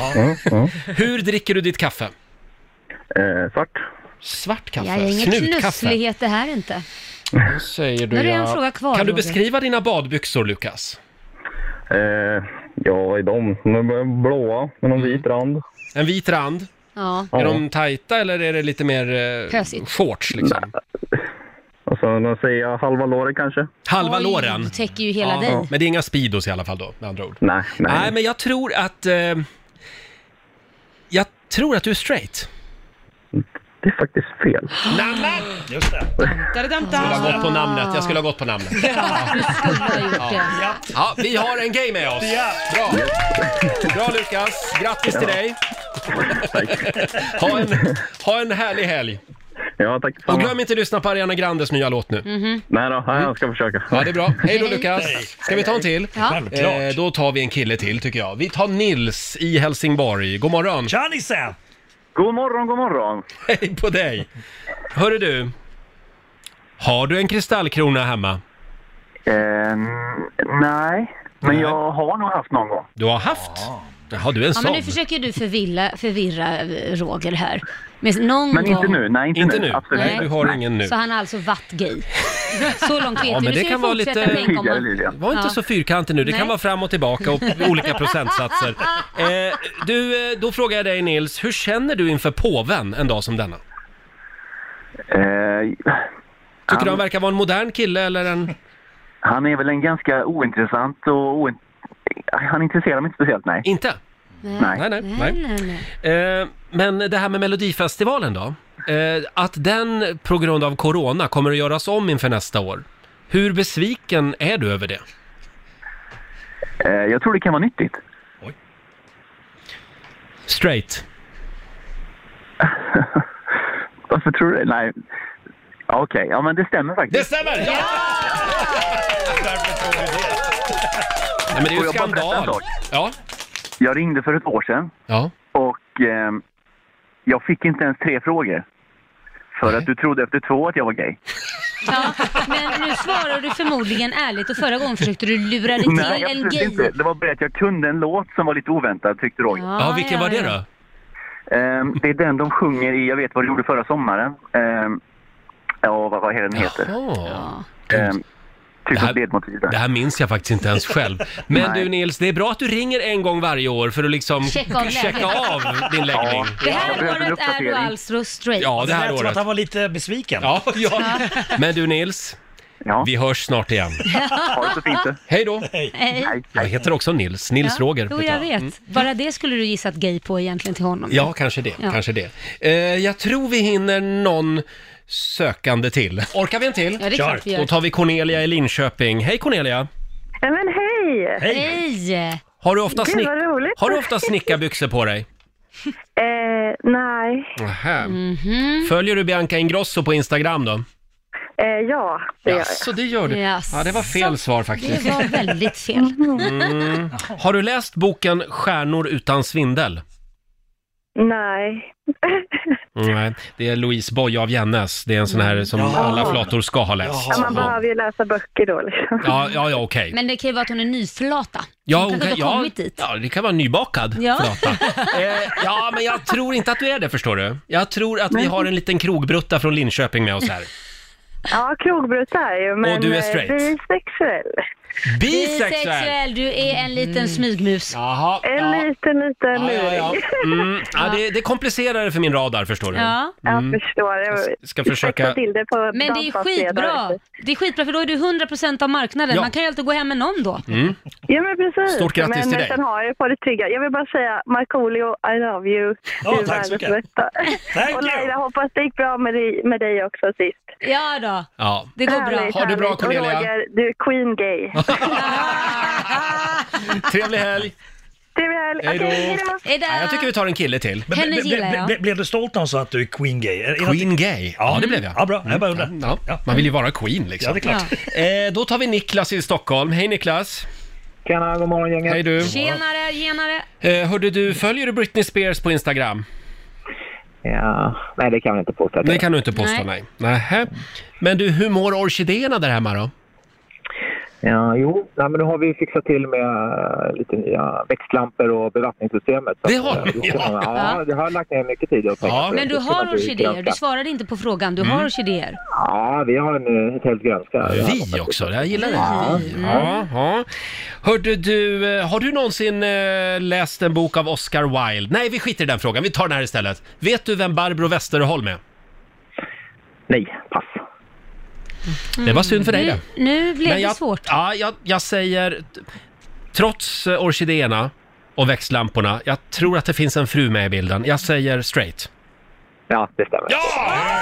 Speaker 1: Hur dricker du ditt kaffe? svart. Svart kaffe?
Speaker 4: Jag är inget
Speaker 1: Snutkaffe?
Speaker 4: knusslighet det här inte.
Speaker 1: Då säger du
Speaker 4: Nu är det en
Speaker 1: ja.
Speaker 4: fråga kvar,
Speaker 1: Kan du
Speaker 4: Roger.
Speaker 1: beskriva dina badbyxor, Lukas?
Speaker 11: Eh, ja, i dem. De är blåa med någon vit rand.
Speaker 1: Mm. En vit rand?
Speaker 4: Ja.
Speaker 1: Är de tajta eller är det lite mer eh,
Speaker 4: Pösigt.
Speaker 1: shorts liksom?
Speaker 11: Och så de säger jag halva låret kanske.
Speaker 1: Halva
Speaker 4: Oj,
Speaker 1: låren?
Speaker 4: Du täcker ju hela
Speaker 1: Ja,
Speaker 4: dig.
Speaker 1: Men det är inga Speedos i alla fall då, med andra ord?
Speaker 11: Nej,
Speaker 1: nej. Nej, men jag tror att... Eh, jag tror att du är straight.
Speaker 11: Det är faktiskt fel.
Speaker 1: Namnet!
Speaker 7: Just det.
Speaker 1: Jag skulle ha gått på namnet, jag skulle ha gått på namnet. Ja. Ja, vi har en gay med oss.
Speaker 7: Ja.
Speaker 1: Bra. Bra Lukas, grattis till
Speaker 12: Ja.
Speaker 1: dig. Ha en, ha en härlig helg.
Speaker 11: Ja, tack
Speaker 1: Och glöm inte att lyssna på Ariana Grandes nya låt nu.
Speaker 7: Mhm.
Speaker 11: Nej då, nej, jag ska försöka.
Speaker 1: Ja, det är bra. Hej då
Speaker 11: Hej.
Speaker 1: Lukas.
Speaker 11: Hej.
Speaker 1: Ska vi ta en till?
Speaker 11: Ja. Självklart.
Speaker 1: Eh, då tar vi en kille till tycker jag. Vi tar Nils i Helsingborg. God morgon.
Speaker 7: Tja Nisse!
Speaker 1: God morgon, god morgon. Hej på dig. Hörru du. Har du en kristallkrona hemma?
Speaker 11: Eh, nej, men jag har nog haft någon gång.
Speaker 1: Du har haft? Jaha, du är en
Speaker 4: Ja, men
Speaker 1: sån.
Speaker 4: nu försöker du förvilla, förvirra eh, Roger här. Men, någon gång...
Speaker 1: inte nu.
Speaker 4: Nej.
Speaker 1: Nej, du har ingen nu.
Speaker 4: Så han har alltså varit gay. Så långt vet
Speaker 1: Ja,
Speaker 4: vi.
Speaker 1: men det
Speaker 4: Nu ska
Speaker 1: kan
Speaker 4: vi
Speaker 1: vara
Speaker 4: fortsätta
Speaker 1: lite...
Speaker 4: tänka om man-
Speaker 1: Var inte
Speaker 4: Ja.
Speaker 1: så fyrkantig nu, det kan
Speaker 4: Nej.
Speaker 1: vara fram och tillbaka och olika procentsatser. Eh, du, eh, då frågar jag dig Nils, hur känner du inför påven en dag som denna?
Speaker 11: Eh,
Speaker 1: Tycker du han verkar vara en modern kille eller en...
Speaker 11: Han är väl en ganska ointressant och oin... Han intresserar mig inte speciellt, nej.
Speaker 1: Inte?
Speaker 11: Nej.
Speaker 1: Nej, nej, Eh, men det här med Melodifestivalen då? Eh, att den på grund av corona kommer att göras om inför nästa år. Hur besviken är du över det?
Speaker 11: Eh, jag tror det kan vara nyttigt.
Speaker 1: Straight.
Speaker 11: Varför tror du det? Nej. Ja, Okej, ja men det stämmer faktiskt.
Speaker 1: Det stämmer! Ja! Nej, men det är ju
Speaker 11: Får jag bara berätta en
Speaker 1: skandal.
Speaker 11: sak?
Speaker 1: Ja.
Speaker 11: Jag ringde för ett år sedan.
Speaker 1: Ja.
Speaker 11: Och ehm, jag fick inte ens tre frågor. För att du trodde efter två att jag var gay.
Speaker 4: Ja, men nu svarar du förmodligen ärligt och förra gången försökte du lura dig till
Speaker 11: Nej,
Speaker 4: en
Speaker 11: absolut
Speaker 4: gay.
Speaker 11: inte. Det var bara att jag kunde en låt som var lite oväntad tyckte Roger.
Speaker 4: Ja, Ja, vilken ja, var det ja. då?
Speaker 11: Ehm, det är den de sjunger i Jag vet vad du gjorde förra sommaren. Ehm, ja, vad, vad är den heter? Ehm, typ ett ledmotiv där.
Speaker 1: Det här minns jag faktiskt inte ens själv. Men du Nils, det är bra att du ringer en gång varje år för att liksom
Speaker 4: Checka av läget.
Speaker 1: checka av din läggning.
Speaker 4: Det här året är du alltså straight.
Speaker 1: Ja, det här året.
Speaker 7: han var lite besviken.
Speaker 1: Ja, ja. Men du Nils, vi hörs snart igen.
Speaker 4: Ha det så fint.
Speaker 1: Hej då!
Speaker 4: Hej.
Speaker 1: Jag heter också Nils, Nils
Speaker 4: Ja.
Speaker 1: Roger.
Speaker 4: Jo, jag vet.
Speaker 1: Mm.
Speaker 4: Bara det skulle du gissat gay på egentligen till honom.
Speaker 1: Ja, kanske det.
Speaker 4: Ja.
Speaker 1: Kanske det. Eh, jag tror vi hinner någon sökande till. Orkar vi en till?
Speaker 4: Ja, det är klart vi gör.
Speaker 1: Då tar vi Cornelia i Linköping. Hej Cornelia!
Speaker 10: Nej, men hej!
Speaker 1: Hej. Har du ofta,
Speaker 10: Gud,
Speaker 1: snick...
Speaker 10: vad roligt.
Speaker 1: har du ofta snickarbyxor på dig?
Speaker 10: Eh, nej.
Speaker 1: Nähä.
Speaker 4: Mm. Mhm.
Speaker 1: Följer du Bianca Ingrosso på Instagram då?
Speaker 10: Eh, ja, det gör jag.
Speaker 1: Jaså, det gör du. Ja, det var fel svar faktiskt.
Speaker 4: väldigt fel.
Speaker 1: Mm. Har du läst boken Stjärnor utan svindel?
Speaker 10: Nej.
Speaker 4: Mm,
Speaker 1: Nej, Mm. det är Louise Boye av Jennes. Det är en sån här som
Speaker 10: Ja.
Speaker 1: alla flator ska ha läst.
Speaker 10: Ja, man behöver ju läsa böcker då liksom.
Speaker 1: Ja, ja, ja okej.
Speaker 4: Men det kan ju vara att hon är nyflata.
Speaker 1: Ja,
Speaker 4: hon kanske inte har
Speaker 1: ja,
Speaker 4: kommit dit.
Speaker 1: ja, det kan vara nybakad
Speaker 4: Ja.
Speaker 1: flata. Eh, ja, men jag tror inte att du är det förstår du. Jag tror att vi har en liten krogbrutta från Linköping med oss här.
Speaker 10: Ja, krogbrus är ju, men
Speaker 1: Och du är
Speaker 10: eh,
Speaker 1: straight?
Speaker 10: bisexuell.
Speaker 4: Bisexuell, du är en liten smygmus.
Speaker 1: Mm. Jaha.
Speaker 10: En liten, liten
Speaker 1: Ja, ja, ja.
Speaker 10: luring.
Speaker 1: Mm, ja, det, det komplicerar det för min radar förstår du.
Speaker 4: Ja.
Speaker 1: Mm.
Speaker 10: Jag förstår. Jag
Speaker 1: ska försöka-
Speaker 10: till det på
Speaker 4: Men det är ju skitbra. Det är skitbra för då är du 100% av marknaden.
Speaker 1: Ja.
Speaker 4: Man kan ju alltid gå hem med någon då.
Speaker 1: Mm.
Speaker 10: Ja, men precis.
Speaker 1: Stort grattis
Speaker 10: men
Speaker 1: till dig.
Speaker 10: Sen har jag ju på det trygga. Jag vill bara säga Markoolio, I love you.
Speaker 1: Ja,
Speaker 10: Du är
Speaker 1: tack så
Speaker 10: världens
Speaker 1: mycket.
Speaker 10: bästa.
Speaker 1: Thank
Speaker 10: Och Laila, hoppas det gick bra med dig, med dig också sist.
Speaker 4: Ja då.
Speaker 1: Ja.
Speaker 4: Det går bra.
Speaker 10: Härligt,
Speaker 4: Ha det bra,
Speaker 10: härligt. Och
Speaker 4: Cornelia.
Speaker 10: Roger, du är queen gay.
Speaker 1: Trevlig helg!
Speaker 10: Trevlig helg.
Speaker 1: Hej då.
Speaker 10: Okej,
Speaker 4: hej då.
Speaker 1: Ja, jag tycker vi tar en kille till.
Speaker 7: Men ble- ble- ble- ble- Blev du stolt när hon sa att du är Queen Gay? Är- är det-
Speaker 1: Queen Gay? Ja, det blev jag. Mm.
Speaker 7: Ja, bra. Jag bara undrar.
Speaker 1: Ja, ja. Man vill ju vara Queen liksom.
Speaker 7: Ja, det är klart.
Speaker 1: Eh, då tar vi Niklas i Stockholm. Hej Niklas!
Speaker 13: Tjena, god morgon gänget.
Speaker 1: Hej du!
Speaker 4: Tjenare, genare.
Speaker 1: Eh, hörde du, följer du Britney Spears på Instagram?
Speaker 13: Ja, nej det kan vi inte påstå.
Speaker 1: Det kan du inte påstå, nej. Nähä. Men du, hur mår orkidéerna där hemma då?
Speaker 13: Ja, jo, nej, men nu har vi fixat till med eh, lite nya växtlampor och bevattningssystemet. Så
Speaker 1: Det
Speaker 13: att,
Speaker 1: har
Speaker 13: eh,
Speaker 1: ni,
Speaker 13: det ska
Speaker 1: ja.
Speaker 13: man- Ja, det har lagt ner mycket tid och pengar på.
Speaker 4: Men du
Speaker 13: Det ska
Speaker 4: har
Speaker 13: man inte
Speaker 4: orkidéer. Du
Speaker 13: glömma.
Speaker 4: svarade inte på frågan. Du
Speaker 1: Mm.
Speaker 4: har orkidéer.
Speaker 13: Ja, vi har en eh, ett helt grönska.
Speaker 1: Vi också, jag gillar det.
Speaker 13: Ja.
Speaker 1: Ja, ja. Hörde du, eh, har du någonsin eh, läst en bok av Oscar Wilde? Nej, vi skiter i den frågan, vi tar den här istället. Vet du vem Barbro Westerholm är?
Speaker 13: Nej, pass.
Speaker 1: Det var synd för dig det.
Speaker 4: Mm. Nu, nu blev
Speaker 1: Men
Speaker 4: det
Speaker 1: jag,
Speaker 4: svårt.
Speaker 1: Ja, jag, jag säger, t- trots eh, orkidéerna och växtlamporna, jag tror att det finns en fru med i bilden. Jag säger straight.
Speaker 13: Ja, det stämmer.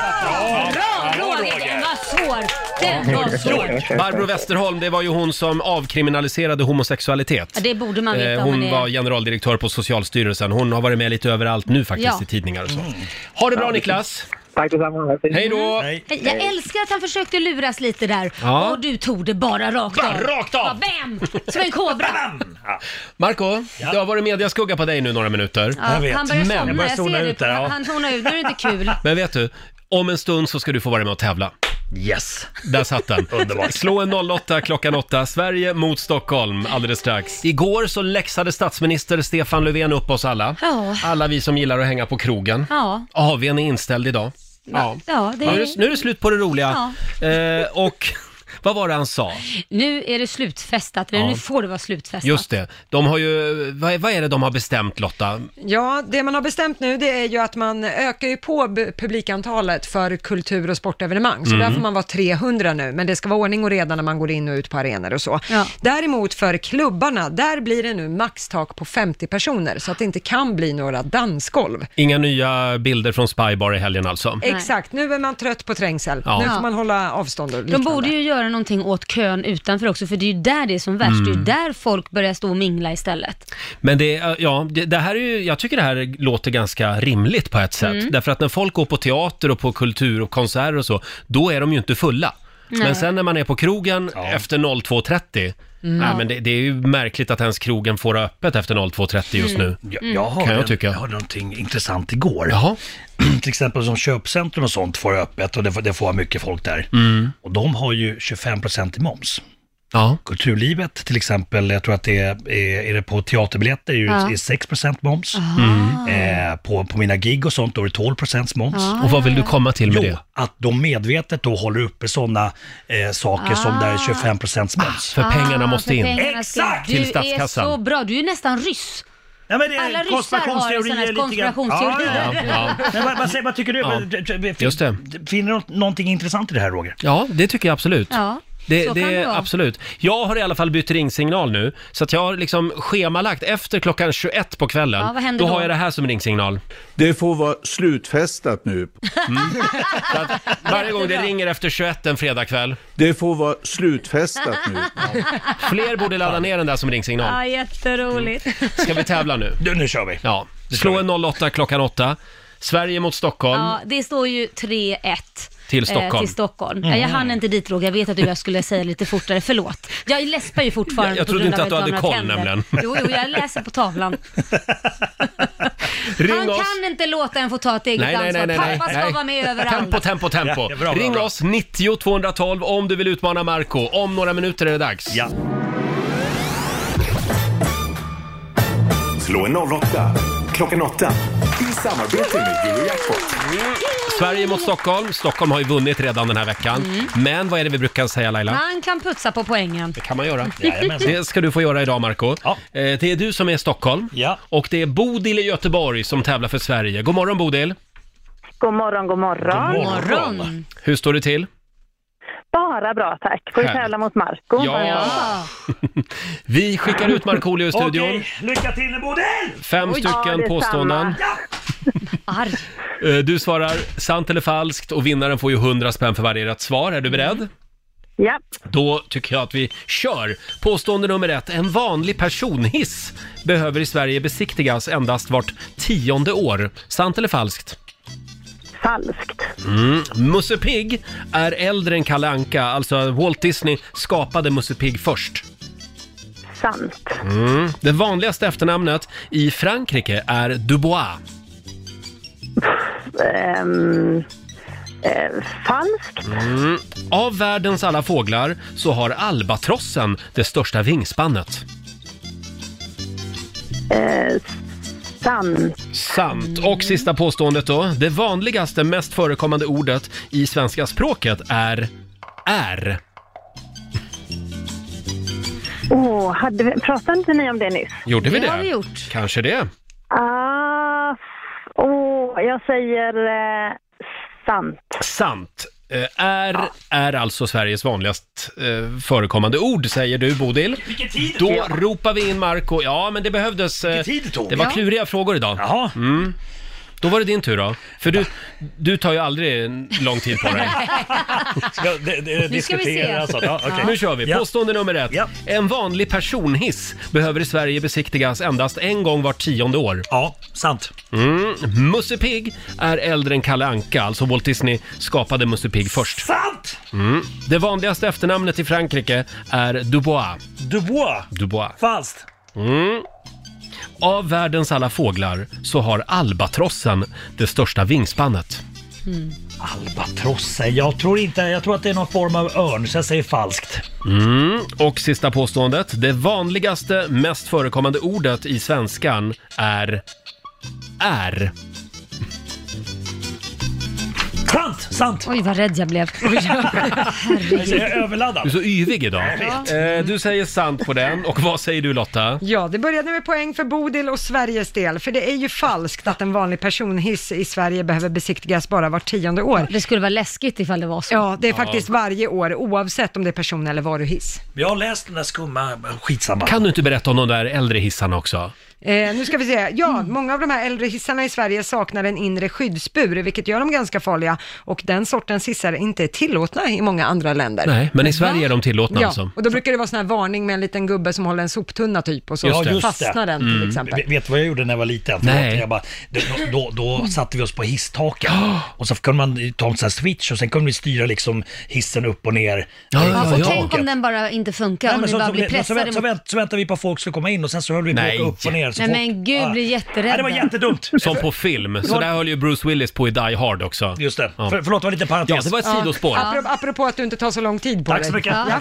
Speaker 4: Bra Roger, den var svår. Den var svår.
Speaker 1: Barbro Westerholm, det var ju hon som avkriminaliserade homosexualitet.
Speaker 4: Ja, det borde man
Speaker 1: Eh,
Speaker 4: veta om
Speaker 1: Hon
Speaker 4: man är...
Speaker 1: var generaldirektör på Socialstyrelsen. Hon har varit med lite överallt nu faktiskt
Speaker 4: Ja.
Speaker 1: i tidningar och så. Ha det bra Niklas!
Speaker 13: Tack detsamma.
Speaker 1: Hej då!
Speaker 4: Mm. Hej, Jag älskar att han försökte luras lite där
Speaker 1: Ja.
Speaker 4: och du tog det bara rakt
Speaker 1: Bara
Speaker 4: av.
Speaker 1: rakt av.
Speaker 4: Ja, bam! Som en kobra.
Speaker 1: Marco, det har varit mediaskugga på dig nu några minuter.
Speaker 4: Ja, Han börjar somna, jag, ser det.
Speaker 1: ut
Speaker 4: På,
Speaker 1: där, ja.
Speaker 4: Han zonar ut, nu är det inte kul.
Speaker 1: Men vet du, om en stund så ska du få vara med och tävla.
Speaker 7: Yes!
Speaker 1: Där satt den. Underbart. Slå en 08 klockan 8. Sverige mot Stockholm alldeles strax. Igår så läxade statsminister Stefan Löfven upp oss alla.
Speaker 4: Ja.
Speaker 1: Alla vi som gillar att hänga på krogen.
Speaker 4: Ja.
Speaker 1: AWn är inställd idag. Ja.
Speaker 4: Ja, det
Speaker 1: Nu, är det, nu är det slut på det roliga. Eh, och vad var det han sa?
Speaker 4: Nu är det slutfestat, eller
Speaker 1: Ja.
Speaker 4: nu får det vara slutfestat.
Speaker 1: Just det, de har ju, vad, är- vad är det de har bestämt Lotta?
Speaker 2: Ja, det man har bestämt nu det är ju att man ökar ju på bu- publikantalet för kultur och sportevenemang, så
Speaker 14: Mm.
Speaker 2: där får man vara 300 nu, men det ska vara ordning och reda när man går in och ut på arenor och så. Däremot för klubbarna, där blir det nu maxtak på 50 personer, så att det inte kan bli några dansgolv.
Speaker 1: Inga nya bilder från Spybar i helgen alltså?
Speaker 2: Exakt, nu är man trött på trängsel.
Speaker 1: Ja.
Speaker 2: Nu får
Speaker 1: Ja.
Speaker 2: man hålla avstånd och
Speaker 4: De
Speaker 2: liknande.
Speaker 4: borde ju göra någonting åt kön utanför också, för det är ju där det är som värst.
Speaker 1: Mm.
Speaker 4: Det är ju där folk börjar stå och mingla istället.
Speaker 1: Men det, eh, ja, det, det här är ju, jag tycker det här låter ganska rimligt på ett sätt.
Speaker 4: Mm.
Speaker 1: Därför att när folk går på teater och på kultur och konserter och så, då är de ju inte fulla.
Speaker 4: Nej.
Speaker 1: Men sen när man är på krogen efter 02.30,
Speaker 7: Mm.
Speaker 1: nej,
Speaker 7: Ja.
Speaker 1: men det, det är ju märkligt att ens krogen får ha öppet efter 02.30 just
Speaker 4: Mm.
Speaker 1: nu.
Speaker 7: Jag, jag, hörde,
Speaker 1: Kan jag tycka.
Speaker 7: jag hörde någonting intressant igår.
Speaker 1: Jaha.
Speaker 7: Till exempel som köpcentrum
Speaker 1: Mm.
Speaker 7: och sånt får öppet och det får, det får ha mycket folk där. Och de har ju 25% i moms. Kulturlivet till exempel, jag tror att det är, är, är det på teaterbiljetter är ju
Speaker 12: Ja.
Speaker 7: är 6% moms. Eh, på, på mina gig och sånt då är det 12% moms.
Speaker 12: Ah. Och vad vill du
Speaker 1: komma till
Speaker 7: med jo, det? att de medvetet då håller uppe sådana eh, saker som där är 25% moms.
Speaker 1: Ah, för pengarna måste
Speaker 4: Ah. För pengarna ska-
Speaker 7: Exakt!
Speaker 4: Du är så bra, du är nästan ryss.
Speaker 7: det är
Speaker 4: Alla ryssar har ju
Speaker 7: konspirationsteorier
Speaker 4: sådana här
Speaker 7: lite grann.
Speaker 4: konspirationsteorier.
Speaker 1: Ja, ja.
Speaker 7: Men vad, vad, säger, vad tycker du?
Speaker 1: Ja.
Speaker 7: Fin-
Speaker 1: Just det.
Speaker 7: Finner du någonting intressant i det här Roger?
Speaker 1: Ja, det tycker jag absolut.
Speaker 7: Ja,
Speaker 1: Det,
Speaker 7: så
Speaker 1: det
Speaker 7: kan det vara.
Speaker 1: Absolut. Jag har i alla fall bytt ringsignal nu, så att jag har liksom schemalagt efter klockan 21 på kvällen.
Speaker 4: Ja, vad händer då?
Speaker 1: har jag det här som ringsignal. Mm.
Speaker 8: Det får vara slutfestat nu.
Speaker 1: Varje gång det ringer efter 21 en fredagkväll.
Speaker 8: Det får vara slutfestat nu.
Speaker 1: Fler borde ladda ner den där som ringsignal.
Speaker 4: Ja, jätteroligt.
Speaker 1: Ska vi tävla nu?
Speaker 7: Du, nu kör vi.
Speaker 1: Ja. Slå en 08 klockan 8. Sverige mot Stockholm.
Speaker 4: Ja, det står ju 3-1.
Speaker 1: Till
Speaker 4: eh,
Speaker 1: Stockholm.
Speaker 4: Till Stockholm.
Speaker 1: Mm.
Speaker 4: Ja, jag hann inte dit Roger, jag vet att du och jag skulle säga lite fortare, förlåt. Jag läspar ju fortfarande
Speaker 1: Jag- jag
Speaker 4: på
Speaker 1: trodde
Speaker 4: grund
Speaker 1: inte
Speaker 4: av
Speaker 1: att du hade
Speaker 4: ett
Speaker 1: koll,
Speaker 4: gammalt
Speaker 1: nämligen.
Speaker 4: Jo, jo, jag läser på tavlan.
Speaker 1: Ring
Speaker 4: Han
Speaker 1: oss!
Speaker 4: kan inte låta en få ta ett eget
Speaker 1: Nej, nej,
Speaker 4: ansvar.
Speaker 1: nej, nej, nej.
Speaker 4: Pappa ska
Speaker 1: nej.
Speaker 4: vara med överallt.
Speaker 1: Tempo, tempo, tempo.
Speaker 7: Ja, bra, bra,
Speaker 1: Ring
Speaker 7: bra.
Speaker 1: oss, 90 212 om du vill utmana Marco Om några minuter är det dags.
Speaker 7: Ja.
Speaker 12: Slå en 08 klockan 8 i samarbete med Eurojackpot.
Speaker 1: Sverige mot Stockholm. Stockholm har ju vunnit redan den här veckan.
Speaker 4: Mm.
Speaker 1: Men vad är det vi brukar säga Laila?
Speaker 4: Han kan putsa på poängen.
Speaker 1: Det kan man göra.
Speaker 4: Jajamensan.
Speaker 1: Det ska du få göra idag Marco Eh, Det är du som är i Stockholm och det är Bodil i Göteborg som tävlar för Sverige. God morgon Bodil!
Speaker 14: God morgon, god morgon.
Speaker 1: God morgon. Hur står det till?
Speaker 14: Bara bra tack. Får ju
Speaker 1: Härligt.
Speaker 14: tävla mot Marco.
Speaker 1: Ja. Ja. Vi skickar ut Markoolio i studion.
Speaker 7: Okej, lycka till nu Bodil!
Speaker 1: Fem stycken påståenden.
Speaker 4: Arg.
Speaker 1: Eh, Du svarar sant eller falskt och vinnaren får ju 100 spänn för varje rätt svar. Är du beredd?
Speaker 14: Ja.
Speaker 1: Då tycker jag att vi kör! Påstående nummer ett. En vanlig personhiss behöver i Sverige besiktigas endast vart tionde år. Sant eller falskt?
Speaker 14: Falskt.
Speaker 1: Mm. Musse Pigg är äldre än Kalle Anka, alltså Walt Disney skapade Musse Pigg först.
Speaker 14: Sant.
Speaker 1: Mm. Det vanligaste efternamnet i Frankrike är Dubois.
Speaker 14: Ehm, eh, falskt.
Speaker 1: Mm. Av världens alla fåglar så har albatrossen det största vingspannet.
Speaker 14: Eh, sant.
Speaker 1: Sant. Och sista påståendet då. Det vanligaste, mest förekommande ordet i svenska språket är är.
Speaker 14: Åh, hade vi, pratade inte ni om det nyss?
Speaker 1: Gjorde vi det?
Speaker 14: gjort.
Speaker 1: Kanske det.
Speaker 14: Ah, åh, jag säger eh, sant.
Speaker 1: Sant. Eh, Är är alltså Sveriges vanligast eh, förekommande ord, säger du Bodil.
Speaker 7: Vilken tid det
Speaker 1: Då
Speaker 7: tog.
Speaker 1: ropar vi in Marco. Ja, men det behövdes... eh,
Speaker 7: tid det tog.
Speaker 1: var
Speaker 7: Ja.
Speaker 1: kluriga frågor idag. Jaha. Mm. Då var det din tur då. För du, du tar ju aldrig en lång tid på dig.
Speaker 7: Ska, det, det,
Speaker 1: Nu ska vi se.
Speaker 7: diskutera sånt. Ja, okej.
Speaker 1: Nu kör vi. Påstående nummer ett. En vanlig personhiss behöver i Sverige besiktigas endast en gång vart tionde år.
Speaker 7: Ja, sant.
Speaker 1: Mm. Musse Pigg är äldre än Kalle Anka, alltså Walt Disney skapade Musse Pigg först.
Speaker 7: Sant!
Speaker 1: Mm. Det vanligaste efternamnet i Frankrike är Dubois.
Speaker 7: Dubois.
Speaker 1: Dubois.
Speaker 7: Falskt.
Speaker 1: Mm. Av världens alla fåglar så har albatrossen det största vingspannet.
Speaker 7: Albatrossen. Mm. Jag tror inte, jag tror att det är någon form av örn, så jag säger falskt.
Speaker 1: Mm. Och sista påståendet. Det vanligaste, mest förekommande ordet i svenskan är är.
Speaker 7: Sant! Sant!
Speaker 4: Oj, vad rädd jag blev.
Speaker 7: Jag är
Speaker 4: Herregud.
Speaker 7: överladdad.
Speaker 1: Du är så yvig idag.
Speaker 7: Jag vet.
Speaker 1: Eh, Du säger sant på den. Och vad säger du Lotta?
Speaker 2: Ja, det började med poäng för Bodil och Sveriges del, för det är ju falskt att en vanlig personhiss i Sverige behöver besiktigas bara vart tionde år.
Speaker 4: Det skulle vara läskigt ifall det var så.
Speaker 2: Ja, det är
Speaker 7: Ja.
Speaker 2: faktiskt varje år, oavsett om det är person eller varuhiss.
Speaker 7: Jag har läst den där skumma, skitsamma.
Speaker 1: Kan du inte berätta om de där äldre hissarna också?
Speaker 2: Eh, nu ska vi se. Ja,
Speaker 4: Mm.
Speaker 2: många av de här äldre hissarna i Sverige saknar en inre skyddsbur, vilket gör dem ganska farliga. Och den sortens hissar är inte tillåtna i många andra länder.
Speaker 1: Nej, men i Sverige är de tillåtna
Speaker 2: Ja,
Speaker 1: alltså.
Speaker 2: och då brukar det vara sån här varning med en liten gubbe som håller en soptunna typ och så
Speaker 7: Ja, just
Speaker 2: fastnar
Speaker 7: det.
Speaker 2: den
Speaker 1: Mm.
Speaker 2: till exempel.
Speaker 7: Vet- Vet du vad jag gjorde när jag var liten?
Speaker 1: Nej.
Speaker 7: Nej. Jag bara, då, då,
Speaker 4: Mm.
Speaker 7: då satte vi oss på hisstaken och så kunde man ta en sån här switch och sen kunde vi styra liksom hissen upp och ner. Eh,
Speaker 1: Ja,
Speaker 4: Ja, för tänk om den bara inte funkar, om
Speaker 7: men
Speaker 4: ni
Speaker 7: så,
Speaker 4: bara
Speaker 7: så,
Speaker 4: blir
Speaker 7: så, så,
Speaker 4: pressade
Speaker 7: vänt, så,
Speaker 4: mot...
Speaker 7: vänt, så väntade vi på att folk skulle komma in och sen så höll vi på att åka upp och ner. helst.
Speaker 4: Nej men gud, blir jätterädd.
Speaker 7: det var jättedumt.
Speaker 1: Som på film. Så där höll ju Bruce Willis på i Die Hard också.
Speaker 7: Just det.
Speaker 1: Ja.
Speaker 7: För, förlåt, det var lite parentes.
Speaker 1: Ja, det var ett sidospår.
Speaker 2: Apropå, apropå att du inte tar så lång tid på
Speaker 1: Tack
Speaker 2: dig.
Speaker 1: så mycket.
Speaker 2: Ja.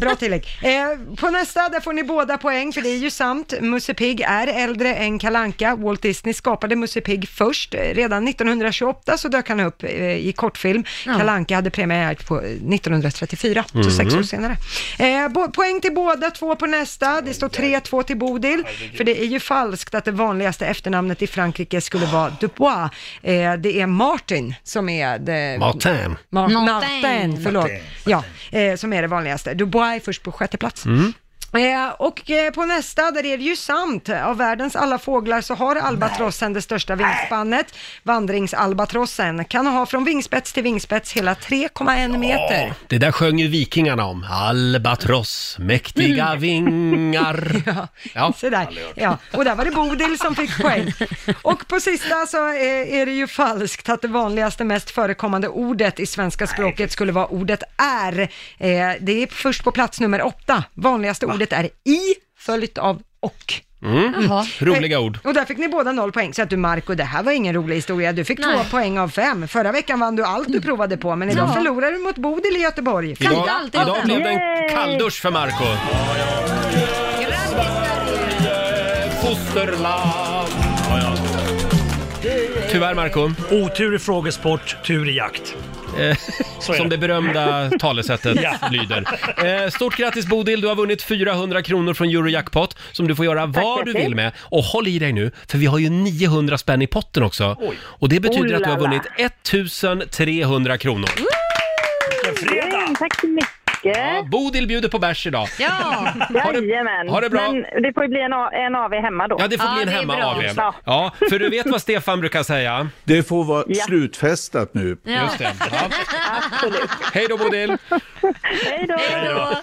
Speaker 2: Bra tillägg. Eh, på nästa, där får ni båda poäng, för det är ju sant. Musse Pigg är äldre än Kalanka. Walt Disney skapade Musse Pigg först. Eh, Redan 1928 så dök han upp eh, i kortfilm.
Speaker 10: Ja.
Speaker 2: Kalanka hade premiär på eh, 1934, så
Speaker 10: Mhm.
Speaker 2: sex år senare. Eh, bo- poäng till båda, två på nästa. Det står 3-2 till Bodil, för det är ju falskt att det vanligaste efternamnet i Frankrike skulle vara Dubois. Eh, det är Martin som är det...
Speaker 1: Martin.
Speaker 2: Ma-
Speaker 1: Martin.
Speaker 2: Martin, förlåt.
Speaker 1: Martin.
Speaker 2: Ja, eh, som är det vanligaste. Dubois är först på sjätte plats.
Speaker 1: Mm.
Speaker 2: Eh, och eh, på nästa, där är det ju sant. Av världens alla fåglar så har albatrossen det största vingspannet. Vandringsalbatrossen kan ha från vingspets till vingspets hela 3,1 meter.
Speaker 1: Det där sjöng ju vikingarna om. Albatross, mäktiga vingar.
Speaker 2: Mm. Ja,
Speaker 1: Ja.
Speaker 2: sådär. Ja, och där var det Bodil som fick poäng. Och på sista så är, är det ju falskt att det vanligaste, mest förekommande ordet i svenska språket skulle vara ordet är. Eh, det är först på plats nummer åtta. Vanligaste ordet är i, följt av och.
Speaker 1: Mm.
Speaker 2: Jaha.
Speaker 1: Roliga ord.
Speaker 2: Och där fick ni båda noll poäng, så att du Marco, det här var ingen rolig historia. Du fick två
Speaker 4: Nej.
Speaker 2: poäng av fem. Förra veckan vann du allt du provade på, men idag
Speaker 4: Ja.
Speaker 2: förlorar du mot Bodil i Göteborg.
Speaker 1: Idag, idag blev det en kalldusch för Marco Fosterland. Tyvärr Marco
Speaker 7: Otur i frågesport, tur i jakt.
Speaker 1: Eh,
Speaker 7: Så är
Speaker 1: Som det berömda talesättet
Speaker 7: Ja.
Speaker 1: lyder. Eh, stort grattis Bodil, du har vunnit 400 kronor från Eurojackpot som du får göra vad du
Speaker 15: Peter.
Speaker 1: vill med. Och håll i dig nu, för vi har ju 900 spänn i potten också. Och det betyder
Speaker 14: Oh
Speaker 1: att du har
Speaker 14: la la.
Speaker 1: vunnit 1300 kronor.
Speaker 14: Fredag! Mm, Tack så mycket.
Speaker 1: Bodil bjuder på bärs idag.
Speaker 14: Ja, jajamän.
Speaker 1: ha det bra.
Speaker 14: Men det får ju bli en, A- en AV hemma då.
Speaker 1: Ja, det får bli en hemma av er.
Speaker 14: Ja.
Speaker 1: Ja, för du vet vad Stefan brukar säga?
Speaker 8: Det får vara
Speaker 14: Ja.
Speaker 8: slutfestat nu.
Speaker 14: Ja.
Speaker 1: Just det. Ja. Hej då Bodil!
Speaker 14: Hej då!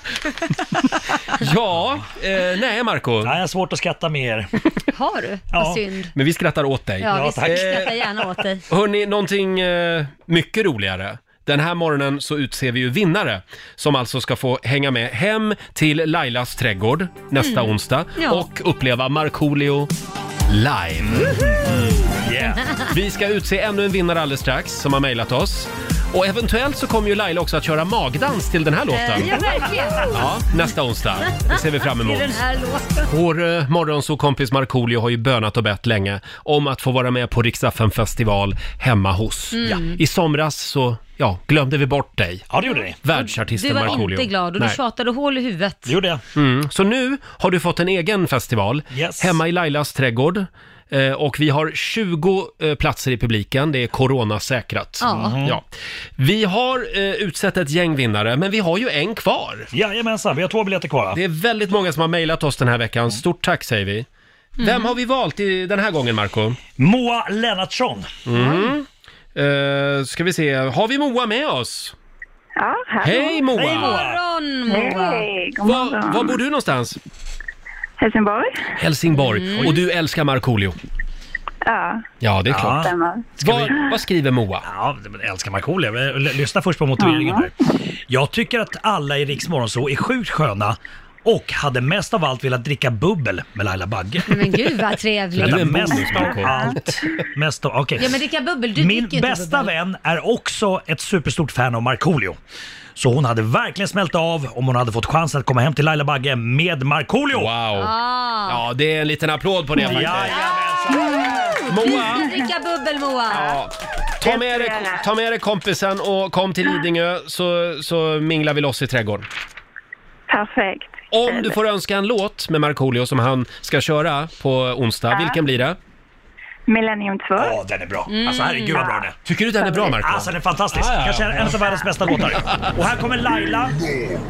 Speaker 1: Ja, eh, nej Marco. Nej, jag
Speaker 7: har svårt att skratta med er.
Speaker 4: Har du? Vad synd.
Speaker 1: Men vi skrattar åt dig.
Speaker 4: Ja, vi skrattar gärna åt dig.
Speaker 1: Hörni, någonting eh, mycket roligare. Den här morgonen så utser vi ju vinnare som alltså ska få hänga med hem till Lailas trädgård nästa
Speaker 4: Mm.
Speaker 1: onsdag
Speaker 4: Ja.
Speaker 1: och uppleva Markoolio live. Yeah. Vi ska utse ännu en vinnare alldeles strax som har mejlat oss. Och eventuellt så kommer ju Laila också att köra magdans till den här låten.
Speaker 4: Eh, Ja, verkligen.
Speaker 1: Ja, nästa onsdag. Det ser vi fram emot.
Speaker 4: I den här låten.
Speaker 1: Vår eh, morgonsåkompis Markoolio har ju bönat och bett länge om att få vara med på Riksaffen festival hemma hos.
Speaker 4: Mm.
Speaker 1: Ja. I somras så, ja, glömde vi bort dig.
Speaker 7: Ja, det gjorde ni.
Speaker 1: Världsartisten
Speaker 4: Du var
Speaker 1: Markoolio.
Speaker 4: inte glad och du
Speaker 1: Nej.
Speaker 4: tjatade hål i huvudet.
Speaker 7: Det gjorde jag.
Speaker 1: Mm. Så nu har du fått en egen festival
Speaker 7: Yes.
Speaker 1: hemma i Lailas trädgård. Eh, Och vi har 20 eh, platser i publiken, det är coronasäkrat. Mm.
Speaker 7: Ja. Mhm.
Speaker 1: Ja. Vi har eh, utsett ett gäng vinnare, men vi har ju en kvar.
Speaker 7: Jajamensan, vi har två biljetter kvar. Mm.
Speaker 1: Det är väldigt många som har mejlat oss den här veckan. Stort tack säger vi. Vem har vi valt i den här gången, Marco?
Speaker 7: Moa Lennartsson.
Speaker 1: Mm. Eh, ska vi se, har vi Moa med oss?
Speaker 14: Ja, hallå.
Speaker 1: Hej Moa!
Speaker 14: Hej,
Speaker 4: morgon Moa!
Speaker 14: Hej, god
Speaker 1: Var,
Speaker 14: morgon.
Speaker 1: var bor du någonstans?
Speaker 14: Helsingborg?
Speaker 1: Helsingborg.
Speaker 14: Mm.
Speaker 1: Och du älskar Markoolio?
Speaker 14: Ja.
Speaker 1: Ja, det är
Speaker 7: Ja.
Speaker 1: klart.
Speaker 14: Stämmer.
Speaker 1: Vad, vad skriver Moa?
Speaker 7: Ja, men älskar Markoolio. L- l- Lyssna först på motiveringen här. Jag tycker att alla i Riks Morgonzoo är sjukt sköna och hade mest av allt velat dricka bubbel med Laila Bagge.
Speaker 4: Men gud vad trevligt.
Speaker 7: Vänta, mest av allt. Mest av, okej.
Speaker 4: Ja men dricka bubbel, du
Speaker 7: Min
Speaker 4: dricker ju inte
Speaker 7: bästa
Speaker 4: bubbel.
Speaker 7: vän är också ett superstort fan av Markoolio. Så hon hade verkligen smält av om hon hade fått chansen att komma hem till Laila Bagge med Markoolio. Wow!
Speaker 4: Ah.
Speaker 1: Ja, det är en liten applåd på det faktiskt. Moa!
Speaker 4: Du ska dricka bubbel Moa!
Speaker 1: Ta med, dig, ta med dig kompisen och kom till Lidingö så, så minglar vi loss i trädgården.
Speaker 14: Perfekt.
Speaker 1: Om du får önska en låt med Markoolio som han ska köra på onsdag,
Speaker 14: Ja.
Speaker 1: vilken blir det?
Speaker 14: Millennium 2.
Speaker 7: Ja, den är bra. Alltså herregud vad bra den är.
Speaker 1: Tycker du den är bra, Marco?
Speaker 7: Alltså den är fantastisk.
Speaker 1: Ja, ja, ja.
Speaker 7: Kanske en av världens bästa låtar. Och här kommer Laila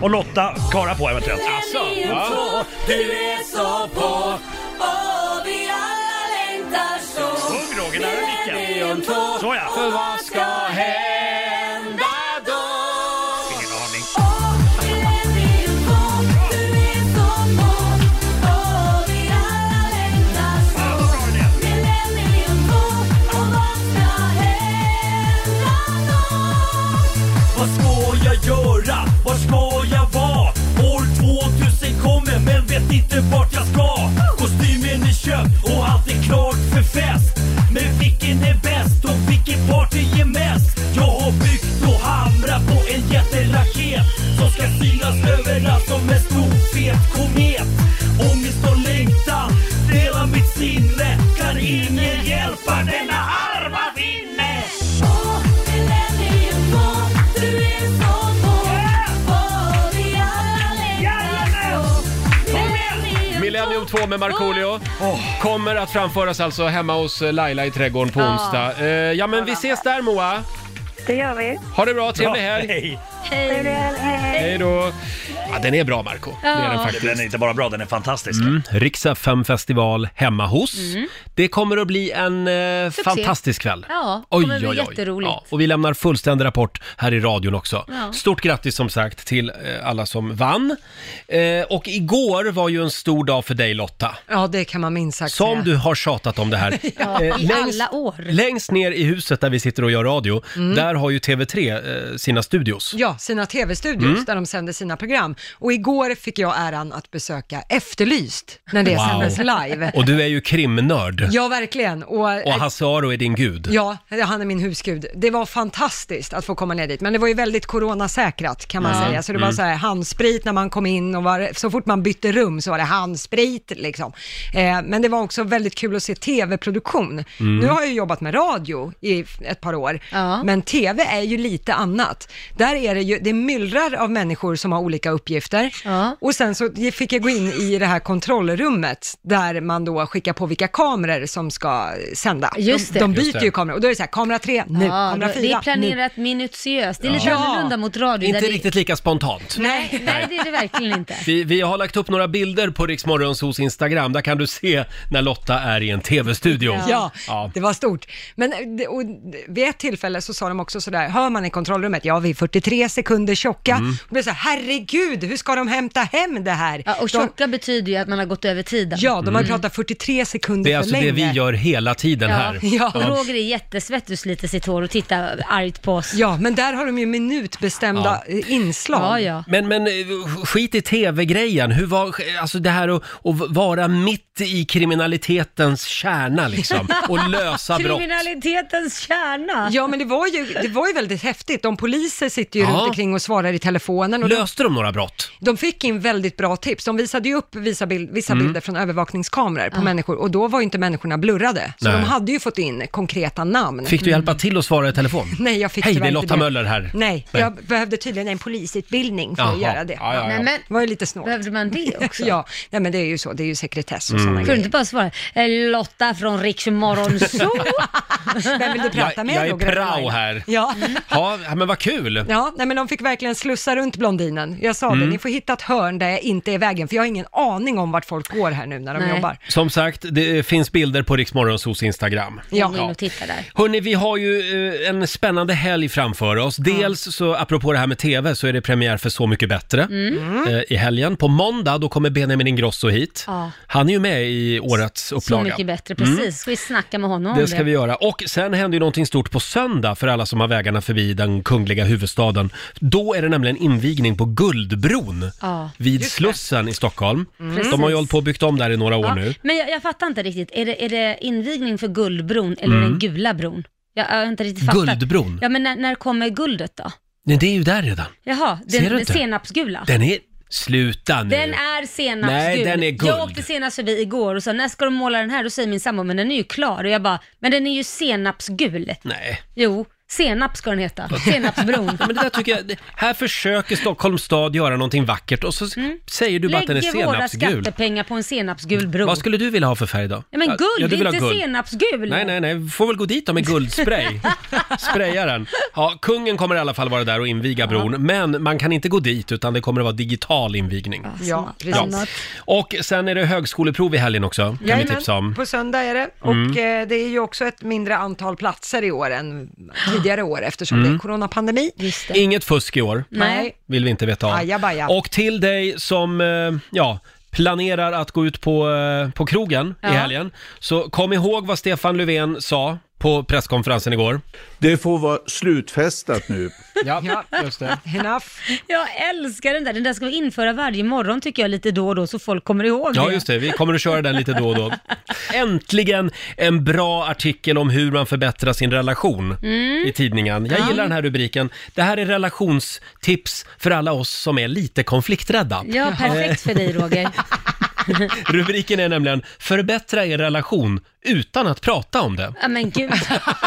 Speaker 7: och Lotta Kara på eventuellt.
Speaker 16: Alltså.
Speaker 1: ja.
Speaker 16: Du är så på och vi alla längtar så. Sjung Roger, nära micken. Såja. För vad ska hända då? Ingen aning.
Speaker 3: Vad ska jag göra? Var ska jag vara? År 2000 kommer men vet inte vart jag ska. Kostymen är köpt
Speaker 1: 2 med Markoolio
Speaker 14: Oh.
Speaker 1: kommer att framföras alltså hemma hos Laila i trädgården på
Speaker 16: Ja.
Speaker 1: onsdag. Eh, ja, men vi ses där Moa!
Speaker 14: Det gör vi.
Speaker 1: Ha det bra, trevlig
Speaker 7: Bra,
Speaker 1: helg!
Speaker 14: Hej.
Speaker 1: Hej då! Ja, den är bra Marco. Det är den
Speaker 7: Ja.
Speaker 1: faktiskt.
Speaker 7: Den är inte bara bra, den är fantastisk.
Speaker 1: Mm. Riksa 5 festival hemma hos.
Speaker 4: Mm.
Speaker 1: Det kommer att bli en eh, fantastisk kväll.
Speaker 4: Ja, det kommer bli jätteroligt.
Speaker 1: Ja, och vi lämnar fullständig rapport här i radion också.
Speaker 4: Ja.
Speaker 1: Stort grattis som sagt till eh, alla som vann. Eh, och igår var ju en stor dag för dig Lotta.
Speaker 2: Ja, det kan man minst sagt
Speaker 1: Som
Speaker 2: säga.
Speaker 1: du har tjatat om det här.
Speaker 4: Ja,
Speaker 1: Eh,
Speaker 4: I alla år.
Speaker 1: längst ner i huset där vi sitter och gör radio,
Speaker 2: Mm.
Speaker 1: där har ju TV3 eh, sina studios.
Speaker 2: Ja, sina tv-studios
Speaker 1: Mm.
Speaker 2: där de sänder sina program. Och igår fick jag äran att besöka Efterlyst, när det sändes live.
Speaker 1: Och du är ju krimnörd.
Speaker 2: Ja, verkligen. Och,
Speaker 1: Och Hasse Aro är din gud.
Speaker 2: Ja, han är min husgud. Det var fantastiskt att få komma ner dit, men det var ju väldigt coronasäkrat kan man
Speaker 1: Ja.
Speaker 2: säga. Så det var
Speaker 1: Mm.
Speaker 2: så här handsprit när man kom in och var, så fort man bytte rum så var det handsprit liksom. Eh, men det var också väldigt kul att se tv-produktion.
Speaker 16: Mm.
Speaker 2: Nu har jag ju jobbat med radio i f- ett par år, men tv är ju lite annat. Där är det ju, det myllrar av människor som har olika uppgifter och sen så fick jag gå in i det här kontrollrummet där man då skickar på vilka kameror som ska sända.
Speaker 4: Just det.
Speaker 2: De, de byter
Speaker 4: Just det.
Speaker 2: ju kameror och då är det så här, kamera 3 nu,
Speaker 4: Ja,
Speaker 2: kamera
Speaker 4: då-
Speaker 2: 4
Speaker 4: det är planerat minutiöst. Det är lite
Speaker 1: Ja.
Speaker 4: annorlunda mot radio.
Speaker 1: Inte
Speaker 4: där det...
Speaker 1: riktigt lika spontant.
Speaker 4: Nej, nej, det är det verkligen inte.
Speaker 1: Vi, vi har lagt upp några bilder på Rix hos Instagram. Där kan du se när Lotta är i en tv-studio.
Speaker 2: Ja. det var stort. Men det- och vid ett tillfälle så sa de också sådär, hör man i kontrollrummet, ja vi är 43 sekunder tjocka.
Speaker 4: Mm.
Speaker 2: Och blev så här, herregud, hur ska de hämta hem det här?
Speaker 4: Ja, och tjocka betyder ju att man har gått över tiden.
Speaker 2: Ja, de har
Speaker 4: Mm.
Speaker 2: pratat 43 sekunder
Speaker 1: Det är
Speaker 2: för
Speaker 1: alltså
Speaker 2: länge.
Speaker 1: det vi gör hela tiden här.
Speaker 4: Ja. Och Roger är jättesvettig och sliter sitt hår och tittar argt på oss.
Speaker 2: Ja, men där har de ju minutbestämda eh, inslag.
Speaker 4: Ja, ja.
Speaker 1: Men, men eh, skit i tv-grejen. Hur var, alltså det här att, att vara mitt i kriminalitetens kärna liksom och lösa brott.
Speaker 4: Kriminalitetens kärna.
Speaker 2: Ja, men det var ju, det var ju väldigt häftigt. De poliser sitter ju
Speaker 1: Ja.
Speaker 2: runt omkring och svarar i telefonen. Och de-
Speaker 1: Löste de några brott?
Speaker 2: De fick in väldigt bra tips. De visade ju upp vissa, bild, vissa
Speaker 1: Mm.
Speaker 2: bilder från övervakningskameror på människor och då var ju inte människorna blurrade. Så
Speaker 1: Nej.
Speaker 2: de hade ju fått in konkreta namn.
Speaker 1: Fick du hjälpa till att svara i telefon?
Speaker 2: Nej, jag fick
Speaker 1: Hej, det
Speaker 2: tyvärr
Speaker 1: är
Speaker 2: inte
Speaker 1: Lotta Möller här.
Speaker 2: Nej,
Speaker 1: Nej.
Speaker 2: jag behövde tydligen en polisutbildning för att
Speaker 1: Jaha.
Speaker 2: göra det.
Speaker 1: Ja, ja, ja. Nej, men-
Speaker 2: Det var ju lite snålt.
Speaker 4: Behövde man det också?
Speaker 2: ja, nej men det är ju så. Det är ju sekretess och
Speaker 1: Mm.
Speaker 2: sådana
Speaker 1: Kunde
Speaker 4: Kunde
Speaker 2: grejer.
Speaker 4: inte bara svara eh, Lotta från Riks Morgonzoo.
Speaker 2: Vem vill du prata med
Speaker 1: jag är
Speaker 2: Roger?
Speaker 1: prao här.
Speaker 2: Ja.
Speaker 1: Ja, men vad kul!
Speaker 2: Ja, nej men de fick verkligen slussa runt blondinen. Jag sa
Speaker 1: Mm.
Speaker 2: det, ni får hitta ett hörn där jag inte är i vägen, för jag har ingen aning om vart folk går här nu när de jobbar.
Speaker 1: Som sagt, det finns bilder på Riksmorgonsos Instagram.
Speaker 4: Ja. In och titta där.
Speaker 1: Hörni, vi har ju eh, en spännande helg framför oss. Dels så, apropå det här med TV, så är det premiär för Så mycket bättre
Speaker 4: Mm.
Speaker 1: eh, i helgen. På måndag, då kommer Benjamin Ingrosso hit.
Speaker 4: Ja.
Speaker 1: Han är ju med i årets upplaga.
Speaker 4: Så mycket bättre,
Speaker 1: Mm.
Speaker 4: precis. Ska vi snacka med honom om
Speaker 1: Det ska vi göra. Och sen händer ju någonting stort på söndag för alla som har vägarna förbi den kungliga huvudstaden. Då är det nämligen invigning på Guldbron
Speaker 4: Ja.
Speaker 1: vid Slussen i Stockholm.
Speaker 4: Mm.
Speaker 1: De har
Speaker 4: Precis.
Speaker 1: ju hållit på och byggt om där i några år
Speaker 4: Ja,
Speaker 1: nu.
Speaker 4: Men jag, jag fattar inte riktigt. Är det, är det invigning för Guldbron eller
Speaker 1: Mm.
Speaker 4: den gula bron? Jag, jag har inte riktigt fattat.
Speaker 1: Guldbron?
Speaker 4: Ja, men när, när kommer guldet då?
Speaker 1: Nej, det är ju där redan.
Speaker 4: Jaha,
Speaker 1: Ser
Speaker 4: den
Speaker 1: du inte?
Speaker 4: senapsgula.
Speaker 1: Den är... Sluta nu!
Speaker 4: Den är senapsgul.
Speaker 1: Nej, den är guld.
Speaker 4: Jag åkte senast förbi igår och sa, när ska de måla den här? Då säger min sambo, men den är ju klar. Och jag bara, men den är ju senapsgul.
Speaker 1: Nej.
Speaker 4: Jo, senap ska den heta. Senapsbron.
Speaker 1: Ja, men det där tycker jag, det- här försöker Stockholms stad göra någonting vackert och så s- säger du bara att den är
Speaker 4: Lägger Mm. våra
Speaker 1: senapsgul.
Speaker 4: skattepengar på en senapsgul bro.
Speaker 1: Vad skulle du vilja ha för färg då?
Speaker 4: Ja, men guld,
Speaker 1: ja, du vill ha
Speaker 4: inte senapsgul.
Speaker 1: Nej, nej, nej. Vi får väl gå dit då med guldspray. Spraya den. Ja, kungen kommer i alla fall vara där och inviga bron, men man kan inte gå dit utan det kommer att vara digital invigning.
Speaker 2: Ja, precis.
Speaker 1: Och sen är det högskoleprov i helgen också, kan
Speaker 2: Jajamän,
Speaker 1: vi tipsa om.
Speaker 2: på söndag är det.
Speaker 1: Mm.
Speaker 2: Och eh, det är ju också ett mindre antal platser i år än tidigare år eftersom
Speaker 1: Mm.
Speaker 2: det är coronapandemi.
Speaker 1: Inget fusk i år.
Speaker 2: Nej.
Speaker 1: Vill vi inte veta av.
Speaker 2: Ajabaja.
Speaker 1: Och till dig som, eh, ja, planerar att gå ut på, eh, på krogen
Speaker 2: Ja.
Speaker 1: i helgen. Så kom ihåg vad Stefan Löfven sa på presskonferensen igår.
Speaker 8: Det får vara slutfestat nu.
Speaker 1: Ja, just det.
Speaker 2: Enough.
Speaker 4: Jag älskar den där. Den där ska vi införa varje morgon tycker jag lite då och då så folk kommer ihåg
Speaker 1: Ja,
Speaker 4: det.
Speaker 1: just det. Vi kommer att köra den lite då och då. Äntligen en bra artikel om hur man förbättrar sin relation
Speaker 4: Mm.
Speaker 1: i tidningen. Jag
Speaker 4: Ja.
Speaker 1: gillar den här rubriken. Det här är relationstips för alla oss som är lite konflikträdda.
Speaker 4: Ja, perfekt för dig Roger.
Speaker 1: Rubriken är nämligen “Förbättra er relation utan att prata om det”.
Speaker 4: Ja men gud,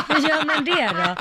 Speaker 4: hur gör man det då?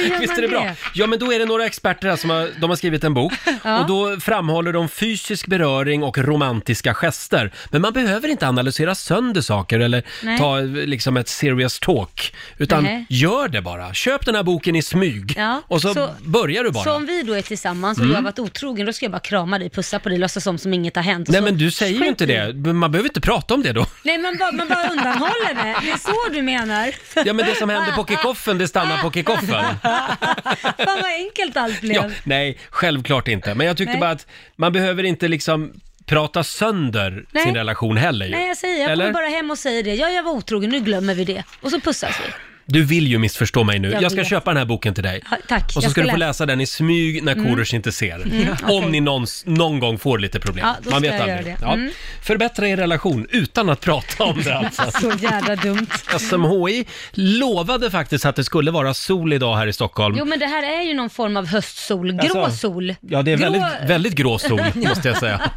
Speaker 4: Hur gör
Speaker 1: Visst
Speaker 4: man
Speaker 1: är det bra? Ja, men då är det några experter här som har, de har skrivit en bok
Speaker 4: Ja.
Speaker 1: och då framhåller de fysisk beröring och romantiska gester. Men man behöver inte analysera sönder saker eller
Speaker 4: Nej.
Speaker 1: ta eh, liksom ett serious talk, utan
Speaker 4: Nej.
Speaker 1: gör det bara. Köp den här boken i smyg
Speaker 4: Ja,
Speaker 1: och så, börjar du bara.
Speaker 4: Så om vi då är tillsammans och
Speaker 1: Mm.
Speaker 4: jag har varit otrogen, då ska jag bara krama dig, pussa på dig, låtsas om som inget har hänt. och
Speaker 1: Nej,
Speaker 4: så-
Speaker 1: men du säger ju inte det. Man behöver inte prata om det då.
Speaker 4: Nej, man bara, man bara undanhåller det. Det är så du menar.
Speaker 1: Ja, men det som händer på kickoffen, det stannar på kickoffen.
Speaker 4: Fan vad enkelt allt blev.
Speaker 1: Ja, nej, självklart inte. Men jag tyckte
Speaker 4: Nej.
Speaker 1: bara att man behöver inte liksom prata sönder
Speaker 4: Nej.
Speaker 1: sin relation heller ju.
Speaker 4: Nej, jag säger, jag
Speaker 1: Eller?
Speaker 4: kommer bara hem och säger det. Ja, jag var otrogen, nu glömmer vi det. Och så pussas vi.
Speaker 1: Du vill ju missförstå mig nu.
Speaker 4: Jag
Speaker 1: Jag, ska
Speaker 4: vet.
Speaker 1: köpa den här boken till dig.
Speaker 4: Ja, tack.
Speaker 1: Och så
Speaker 4: jag
Speaker 1: ska du få läsa den i smyg när
Speaker 4: Mm.
Speaker 1: Korosh inte ser.
Speaker 4: Mm, okej.
Speaker 1: Om ni någons, någon gång får lite problem.
Speaker 4: Ja, då
Speaker 1: Man
Speaker 4: ska
Speaker 1: vet
Speaker 4: jag
Speaker 1: aldrig.
Speaker 4: göra det.
Speaker 1: Ja.
Speaker 4: Mm.
Speaker 1: Förbättra er relation utan att prata om det alltså.
Speaker 4: Så jävla dumt.
Speaker 1: SMHI lovade faktiskt att det skulle vara sol idag här i Stockholm.
Speaker 4: Jo, men det här är ju någon form av höstsol. Grå
Speaker 1: Alltså,
Speaker 4: sol.
Speaker 1: Ja, det är
Speaker 4: Grå- Mm,
Speaker 1: väldigt, väldigt grå sol måste jag säga.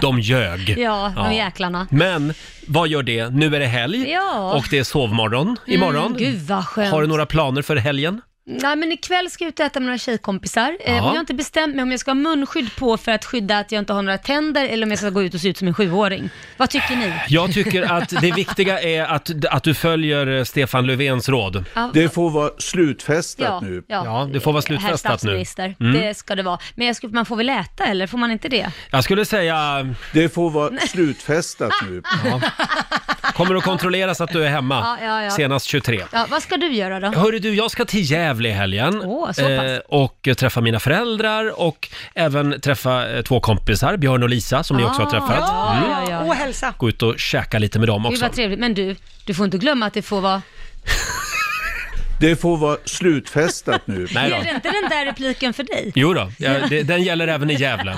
Speaker 1: De ljög.
Speaker 4: Ja, de jäklarna.
Speaker 1: Men vad gör det? Nu är det helg
Speaker 4: Ja.
Speaker 1: och det är sovmorgon imorgon.
Speaker 4: Mm, gud vad skönt.
Speaker 1: Har du några planer för helgen?
Speaker 4: Nej men ikväll ska jag ut och äta med några tjejkompisar. Eh,
Speaker 1: Ja.
Speaker 4: och jag har inte bestämt mig om jag ska ha munskydd på för att skydda att jag inte har några tänder eller om jag ska gå ut och se ut som en sjuåring. Vad tycker ni?
Speaker 1: Jag tycker att det viktiga är att, att du följer eh, Stefan Löfvens råd.
Speaker 4: Ja. Det
Speaker 1: får vara slutfestat
Speaker 4: Ja, nu. ja.
Speaker 1: det får vara
Speaker 4: Herr
Speaker 1: slutfestat nu.
Speaker 4: statsminister,
Speaker 1: Mm.
Speaker 4: det ska det vara. Men jag skulle, man får väl äta eller får man inte det?
Speaker 1: Jag skulle säga... Det får vara slutfestat nu. Ja. Kommer att kontrolleras att du är hemma
Speaker 4: Ja, ja, ja.
Speaker 1: senast 23.
Speaker 4: Ja, vad ska du göra då?
Speaker 1: Hörru du, jag ska till Gävle i helgen
Speaker 4: Ah.
Speaker 1: eh,
Speaker 4: Åh, så pass.
Speaker 1: och träffa mina föräldrar och även träffa eh, två kompisar, Björn och Lisa, som ni också har träffat.
Speaker 4: Ah, Ja,
Speaker 1: Mm.
Speaker 4: ja, ja.
Speaker 2: Och hälsa.
Speaker 1: Gå ut och käka lite med dem
Speaker 4: Gud
Speaker 1: också.
Speaker 4: vad trevligt. Men du, du får inte glömma att det får vara...
Speaker 8: Det får vara slutfestat nu.
Speaker 1: Nej
Speaker 4: Är det
Speaker 1: då.
Speaker 4: inte den där repliken för dig?
Speaker 1: Jo då, ja, det, den gäller även i Gävle.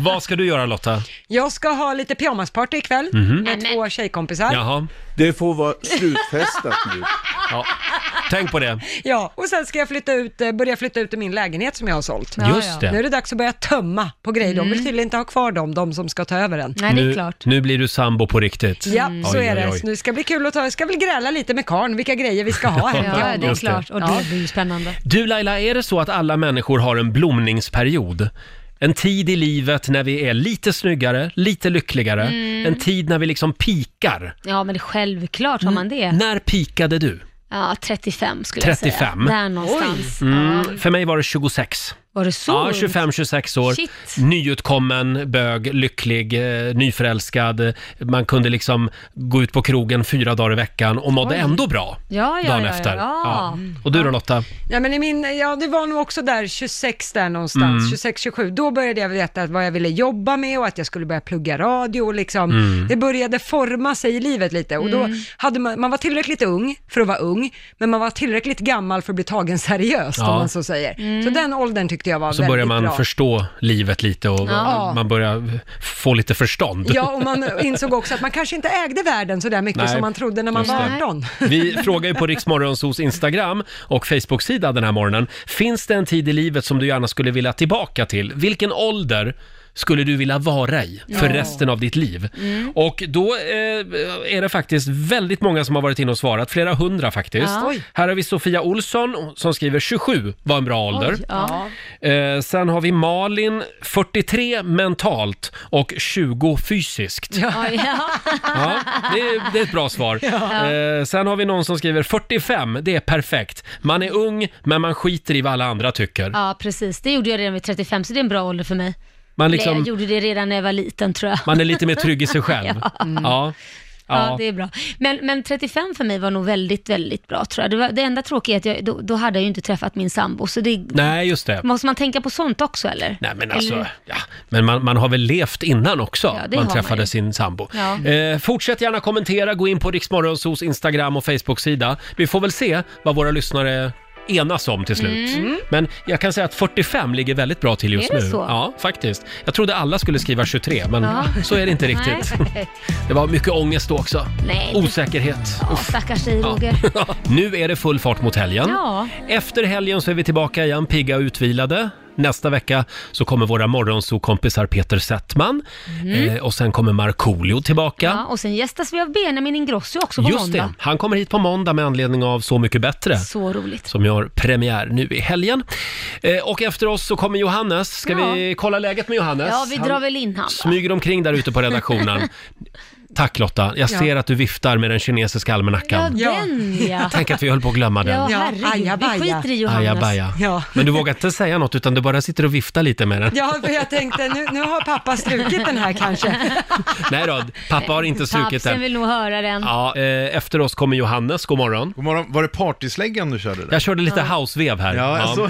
Speaker 1: Vad ska du göra Lotta?
Speaker 2: Jag ska ha lite pyjamasparty ikväll
Speaker 1: Mhm.
Speaker 2: med två tjejkompisar.
Speaker 1: Jaha. Det får vara slutfestat nu. Ja. Tänk på det.
Speaker 2: Ja, och sen ska jag flytta ut, eh, börja flytta ut ur min lägenhet som jag har sålt.
Speaker 1: Ja, Just ja. det. Mm.
Speaker 2: Nu är det dags att börja tömma på grejer. De vill tydligen inte ha kvar dem, de som ska ta över den.
Speaker 1: nu, nu blir du sambo på riktigt.
Speaker 2: Ja, så
Speaker 1: Mm. Oj,
Speaker 2: är
Speaker 1: oj,
Speaker 2: det.
Speaker 1: oj.
Speaker 2: Så nu ska det bli kul att ta, jag ska väl gräla lite med karn vilka grejer vi ska ha här.
Speaker 1: Ja, det är Just det. klart.
Speaker 4: Och det blir ju spännande.
Speaker 1: Du Laila, är det så att alla människor har en blomningsperiod? En tid i livet när vi är lite snyggare, lite lyckligare.
Speaker 4: Mm.
Speaker 1: En tid när vi liksom pikar.
Speaker 4: Ja, men det är självklart har man det.
Speaker 1: När pikade du?
Speaker 4: Ja, 35 skulle jag säga.
Speaker 1: 35?
Speaker 4: Där någonstans.
Speaker 1: Mm, för mig var det 26.
Speaker 4: Var det så?
Speaker 1: Ja, 25-26 år.
Speaker 4: Shit.
Speaker 1: Nyutkommen, bög, lycklig, eh, nyförälskad. Man kunde liksom gå ut på krogen fyra dagar i veckan och mådde
Speaker 2: Oj.
Speaker 1: ändå bra
Speaker 2: Ja, ja,
Speaker 1: dagen
Speaker 2: ja, ja,
Speaker 1: efter.
Speaker 2: ja.
Speaker 1: Och du då Lotta?
Speaker 2: Ja, men i min, ja, det var nog också där 26 där någonstans,
Speaker 1: Mm.
Speaker 2: 26-27. Då började jag veta vad jag ville jobba med och att jag skulle börja plugga radio och liksom,
Speaker 16: Mm.
Speaker 2: det började forma sig i livet lite. Och då
Speaker 16: Mm.
Speaker 2: hade man, man var tillräckligt ung för att vara ung, men man var tillräckligt gammal för att bli tagen seriöst
Speaker 1: Ja.
Speaker 2: om man så säger.
Speaker 4: Mm.
Speaker 2: Så den åldern tyckte jag var
Speaker 1: Och så
Speaker 2: väldigt
Speaker 1: börjar man
Speaker 2: bra.
Speaker 1: förstå livet lite och
Speaker 2: Ja.
Speaker 1: man börjar få lite förstånd.
Speaker 2: Ja, och man insåg också att man kanske inte ägde världen så där mycket
Speaker 1: Nej,
Speaker 2: som man trodde när man
Speaker 1: just
Speaker 2: var
Speaker 1: det.
Speaker 2: 18.
Speaker 1: Vi frågar ju på Riksmorgonsos Instagram och Facebook-sida den här morgonen. Finns det en tid i livet som du gärna skulle vilja tillbaka till? Vilken ålder skulle du vilja vara i för
Speaker 16: Ja.
Speaker 1: resten av ditt liv?
Speaker 16: Mm.
Speaker 1: Och då eh, är det faktiskt väldigt många som har varit inne och svarat, flera hundra faktiskt.
Speaker 16: Ja. Oj.
Speaker 1: Här har vi Sofia Olsson som skriver 27 var en bra ålder.
Speaker 16: Oj, ja.
Speaker 1: eh, sen har vi Malin, 43 mentalt och 20 fysiskt.
Speaker 4: Oj, ja.
Speaker 1: Ja, det är, det är ett bra svar.
Speaker 4: Ja.
Speaker 1: Eh, sen har vi någon som skriver 45, det är perfekt. Man är ung, men man skiter i vad alla andra tycker.
Speaker 4: ja, precis. Det gjorde jag redan vid 35, så det är en bra ålder för mig.
Speaker 1: Man,
Speaker 4: Eller jag
Speaker 1: liksom,
Speaker 4: gjorde det redan när jag var liten tror jag.
Speaker 1: man är lite mer trygg i sig själv.
Speaker 4: ja.
Speaker 1: Ja.
Speaker 4: Ja,
Speaker 1: Ja.
Speaker 4: det är bra. Men, men 35 för mig var nog väldigt, väldigt bra tror jag. Det, var, det enda tråkiga är att jag, då, då hade jag ju inte träffat min sambo, så det...
Speaker 1: Nej, just det.
Speaker 4: Måste man tänka på sånt också eller?
Speaker 1: Nej, men alltså,
Speaker 4: Eller-
Speaker 1: ja. Men man, man har väl levt innan också,
Speaker 4: Ja, det
Speaker 1: man
Speaker 4: har man
Speaker 1: träffade
Speaker 4: ju.
Speaker 1: sin sambo.
Speaker 4: Ja.
Speaker 1: Eh, fortsätt gärna kommentera, gå in på Riksmorgonsos Instagram och Facebook-sida. Vi får väl se vad våra lyssnare enas om till slut.
Speaker 16: Mm.
Speaker 1: Men jag kan säga att 45 ligger väldigt bra till just
Speaker 16: Är det
Speaker 1: nu.
Speaker 16: så?
Speaker 1: Ja, faktiskt. Jag trodde alla skulle skriva 23, men
Speaker 4: Ja.
Speaker 1: så är det inte riktigt. Oh.
Speaker 4: Nej.
Speaker 1: Det var mycket ångest då också.
Speaker 4: Nej.
Speaker 1: Osäkerhet.
Speaker 4: Ja, stackars dig Roger.
Speaker 1: Nu är det full fart mot helgen.
Speaker 4: Ja.
Speaker 1: Efter helgen så är vi tillbaka igen, pigga och utvilade. Nästa vecka så kommer våra morgonsokompisar Peter Settman
Speaker 4: Mm.
Speaker 1: eh, och sen kommer Markoolio tillbaka.
Speaker 4: Ja, och sen gästas vi av Benjamin Ingrosso också på
Speaker 1: Just
Speaker 4: måndag.
Speaker 1: det, han kommer hit på måndag med anledning av Så mycket bättre.
Speaker 4: Så roligt.
Speaker 1: Som gör premiär nu i helgen. Eh, och efter oss så kommer Johannes. Ska
Speaker 4: Ja.
Speaker 1: vi kolla läget med Johannes?
Speaker 4: Ja, vi
Speaker 1: Han
Speaker 4: drar väl in han va?
Speaker 1: smyger omkring där ute på redaktionen. Tack Lotta, jag
Speaker 4: Ja.
Speaker 1: ser att du viftar med den kinesiska
Speaker 4: Ja,
Speaker 1: almanackan.
Speaker 4: den ja.
Speaker 1: Tänk att vi höll på att glömma den.
Speaker 4: Ja, herregud. Vi skiter i Johannes.
Speaker 1: Ajabaja.
Speaker 2: Ja.
Speaker 1: Men du vågar inte säga något utan du bara sitter och viftar lite med den.
Speaker 2: Ja, för jag tänkte nu, nu har pappa strukit den här kanske.
Speaker 1: Nej då, pappa har inte strukit
Speaker 4: Pappsen
Speaker 1: den.
Speaker 4: vill nog höra den.
Speaker 1: Ja, eh, efter oss kommer Johannes, god morgon.
Speaker 15: God morgon. Var det partysläggan du körde där?
Speaker 1: Jag körde lite
Speaker 15: Ja.
Speaker 1: housevev här.
Speaker 15: Ja, alltså.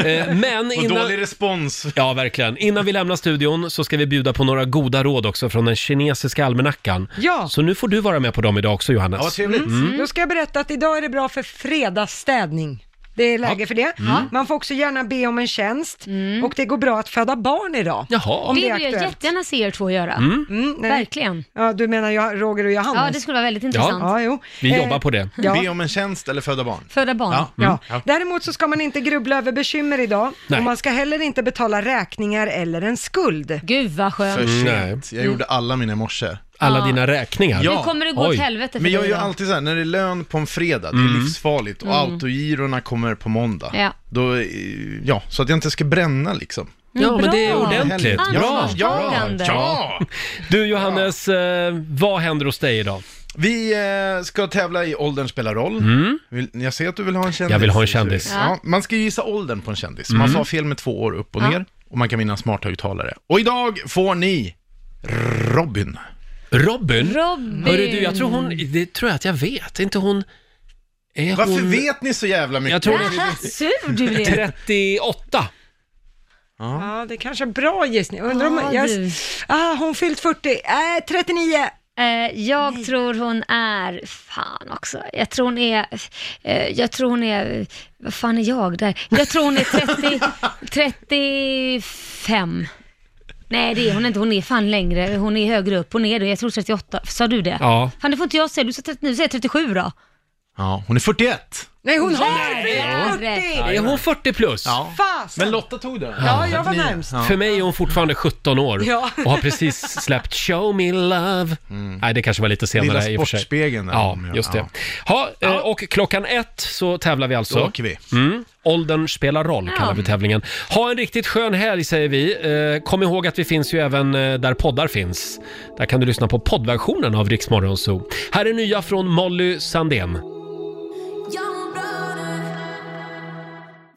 Speaker 1: Eh, Men
Speaker 15: Vad
Speaker 1: innan...
Speaker 15: dålig respons.
Speaker 1: Ja, verkligen. Innan vi lämnar studion så ska vi bjuda på några goda råd också från den kinesiska almanackan.
Speaker 2: Ja.
Speaker 1: Så nu får du vara med på dem idag också, Johannes.
Speaker 2: Mm. Då ska jag berätta att idag är det bra för fredagsstädning. Det är läge för det.
Speaker 1: Mm.
Speaker 2: Man får också gärna be om en tjänst och det går bra att föda barn idag.
Speaker 1: Jaha.
Speaker 2: Om
Speaker 4: Mm. det
Speaker 2: det är
Speaker 4: vill jag
Speaker 2: aktuellt.
Speaker 4: jättegärna se er två göra.
Speaker 1: Mm.
Speaker 2: nej.
Speaker 4: Verkligen.
Speaker 2: Ja, du menar jag, Roger och Johannes?
Speaker 4: Ja, det skulle vara väldigt intressant.
Speaker 2: Ja, jo.
Speaker 15: Vi
Speaker 2: Eh,
Speaker 15: jobbar
Speaker 1: på det.
Speaker 2: ja.
Speaker 15: Be om en tjänst eller föda barn.
Speaker 4: Föda barn.
Speaker 15: Ja.
Speaker 2: Ja.
Speaker 15: Mm.
Speaker 2: Däremot så ska man inte grubbla över bekymmer idag
Speaker 15: Nej.
Speaker 2: och man ska heller inte betala räkningar eller en skuld. Mm.
Speaker 4: Gud vad skönt. Mm.
Speaker 15: För sent. Jag gjorde alla mina i morse.
Speaker 1: Mm. Alla dina räkningar?
Speaker 4: Nu kommer det gå åt helvete för
Speaker 15: Men jag
Speaker 4: dig
Speaker 15: gör
Speaker 4: då.
Speaker 15: alltid så här, när det är lön på en fredag, det är
Speaker 1: Mm.
Speaker 15: livsfarligt och
Speaker 4: Mm.
Speaker 15: autogirona kommer på måndag.
Speaker 4: Ja.
Speaker 15: Då, eh, ja, så att jag inte ska bränna liksom.
Speaker 1: Ja, men det är ordentligt.
Speaker 15: Ja, ja,
Speaker 1: Ansvarstagande.
Speaker 15: ja.
Speaker 1: Du Johannes, eh, vad händer hos dig idag?
Speaker 15: Vi eh, ska tävla i Åldern spelar roll. Vill, jag ser att du vill ha en kändis.
Speaker 1: Mm. Jag vill ha en kändis.
Speaker 15: Ja. man ska ju gissa åldern på en kändis.
Speaker 1: Mm.
Speaker 15: Man får ha fel med två år upp och
Speaker 1: Ja.
Speaker 15: ner. Och man kan vinna en smarta uttalare. Och idag får ni Robin.
Speaker 1: Robin?
Speaker 4: Robin.
Speaker 1: Mm. Hörru du, jag tror hon, det tror jag att jag vet. Är inte hon... Är
Speaker 15: Varför
Speaker 1: hon...
Speaker 15: vet ni så jävla mycket?
Speaker 1: Jag tror
Speaker 4: Jaha, sur du blev.
Speaker 1: 38.
Speaker 2: Ja, det är kanske är en bra gissning. Undrar om...
Speaker 4: Ja,
Speaker 2: jag...
Speaker 4: du.
Speaker 2: ah, hon fyllt 40, äh, 39.
Speaker 4: Eh, jag tror hon är, fan också, jag tror hon är, eh, jag tror hon är, vad fan är jag där? Jag tror hon är 30, 35. Nej det är hon inte, hon är fan längre, hon är högre upp, hon är det, jag tror 38, sa du det?
Speaker 15: Ja.
Speaker 4: Fan det får inte jag säga, du sa 30, nu säger jag 37 då.
Speaker 15: Ja, hon är 41.
Speaker 2: Nej hon
Speaker 4: har
Speaker 1: Är hon 40 plus? Ja.
Speaker 15: Men Lotta tog den.
Speaker 1: Ja, jag var närmst. För mig är hon fortfarande 17 år
Speaker 15: Ja.
Speaker 1: och har precis släppt Show Me Love. Nej, det kanske var lite senare
Speaker 15: Mm. Lilla
Speaker 1: i och för sig.
Speaker 15: Sportspegeln där. Mm,
Speaker 1: Ja, just det. Ha, eh,
Speaker 15: Ja.
Speaker 1: och klockan ett så tävlar vi alltså.
Speaker 15: Då åker vi.
Speaker 1: Mm. Åldern spelar roll
Speaker 15: Ja.
Speaker 1: kallar vi tävlingen. Ha en riktigt skön helg säger vi. Eh, kom ihåg att vi finns ju även eh, där poddar finns. Där kan du lyssna på poddversionen av Riksmorgon Zoo. Här är nya från Molly Sandén.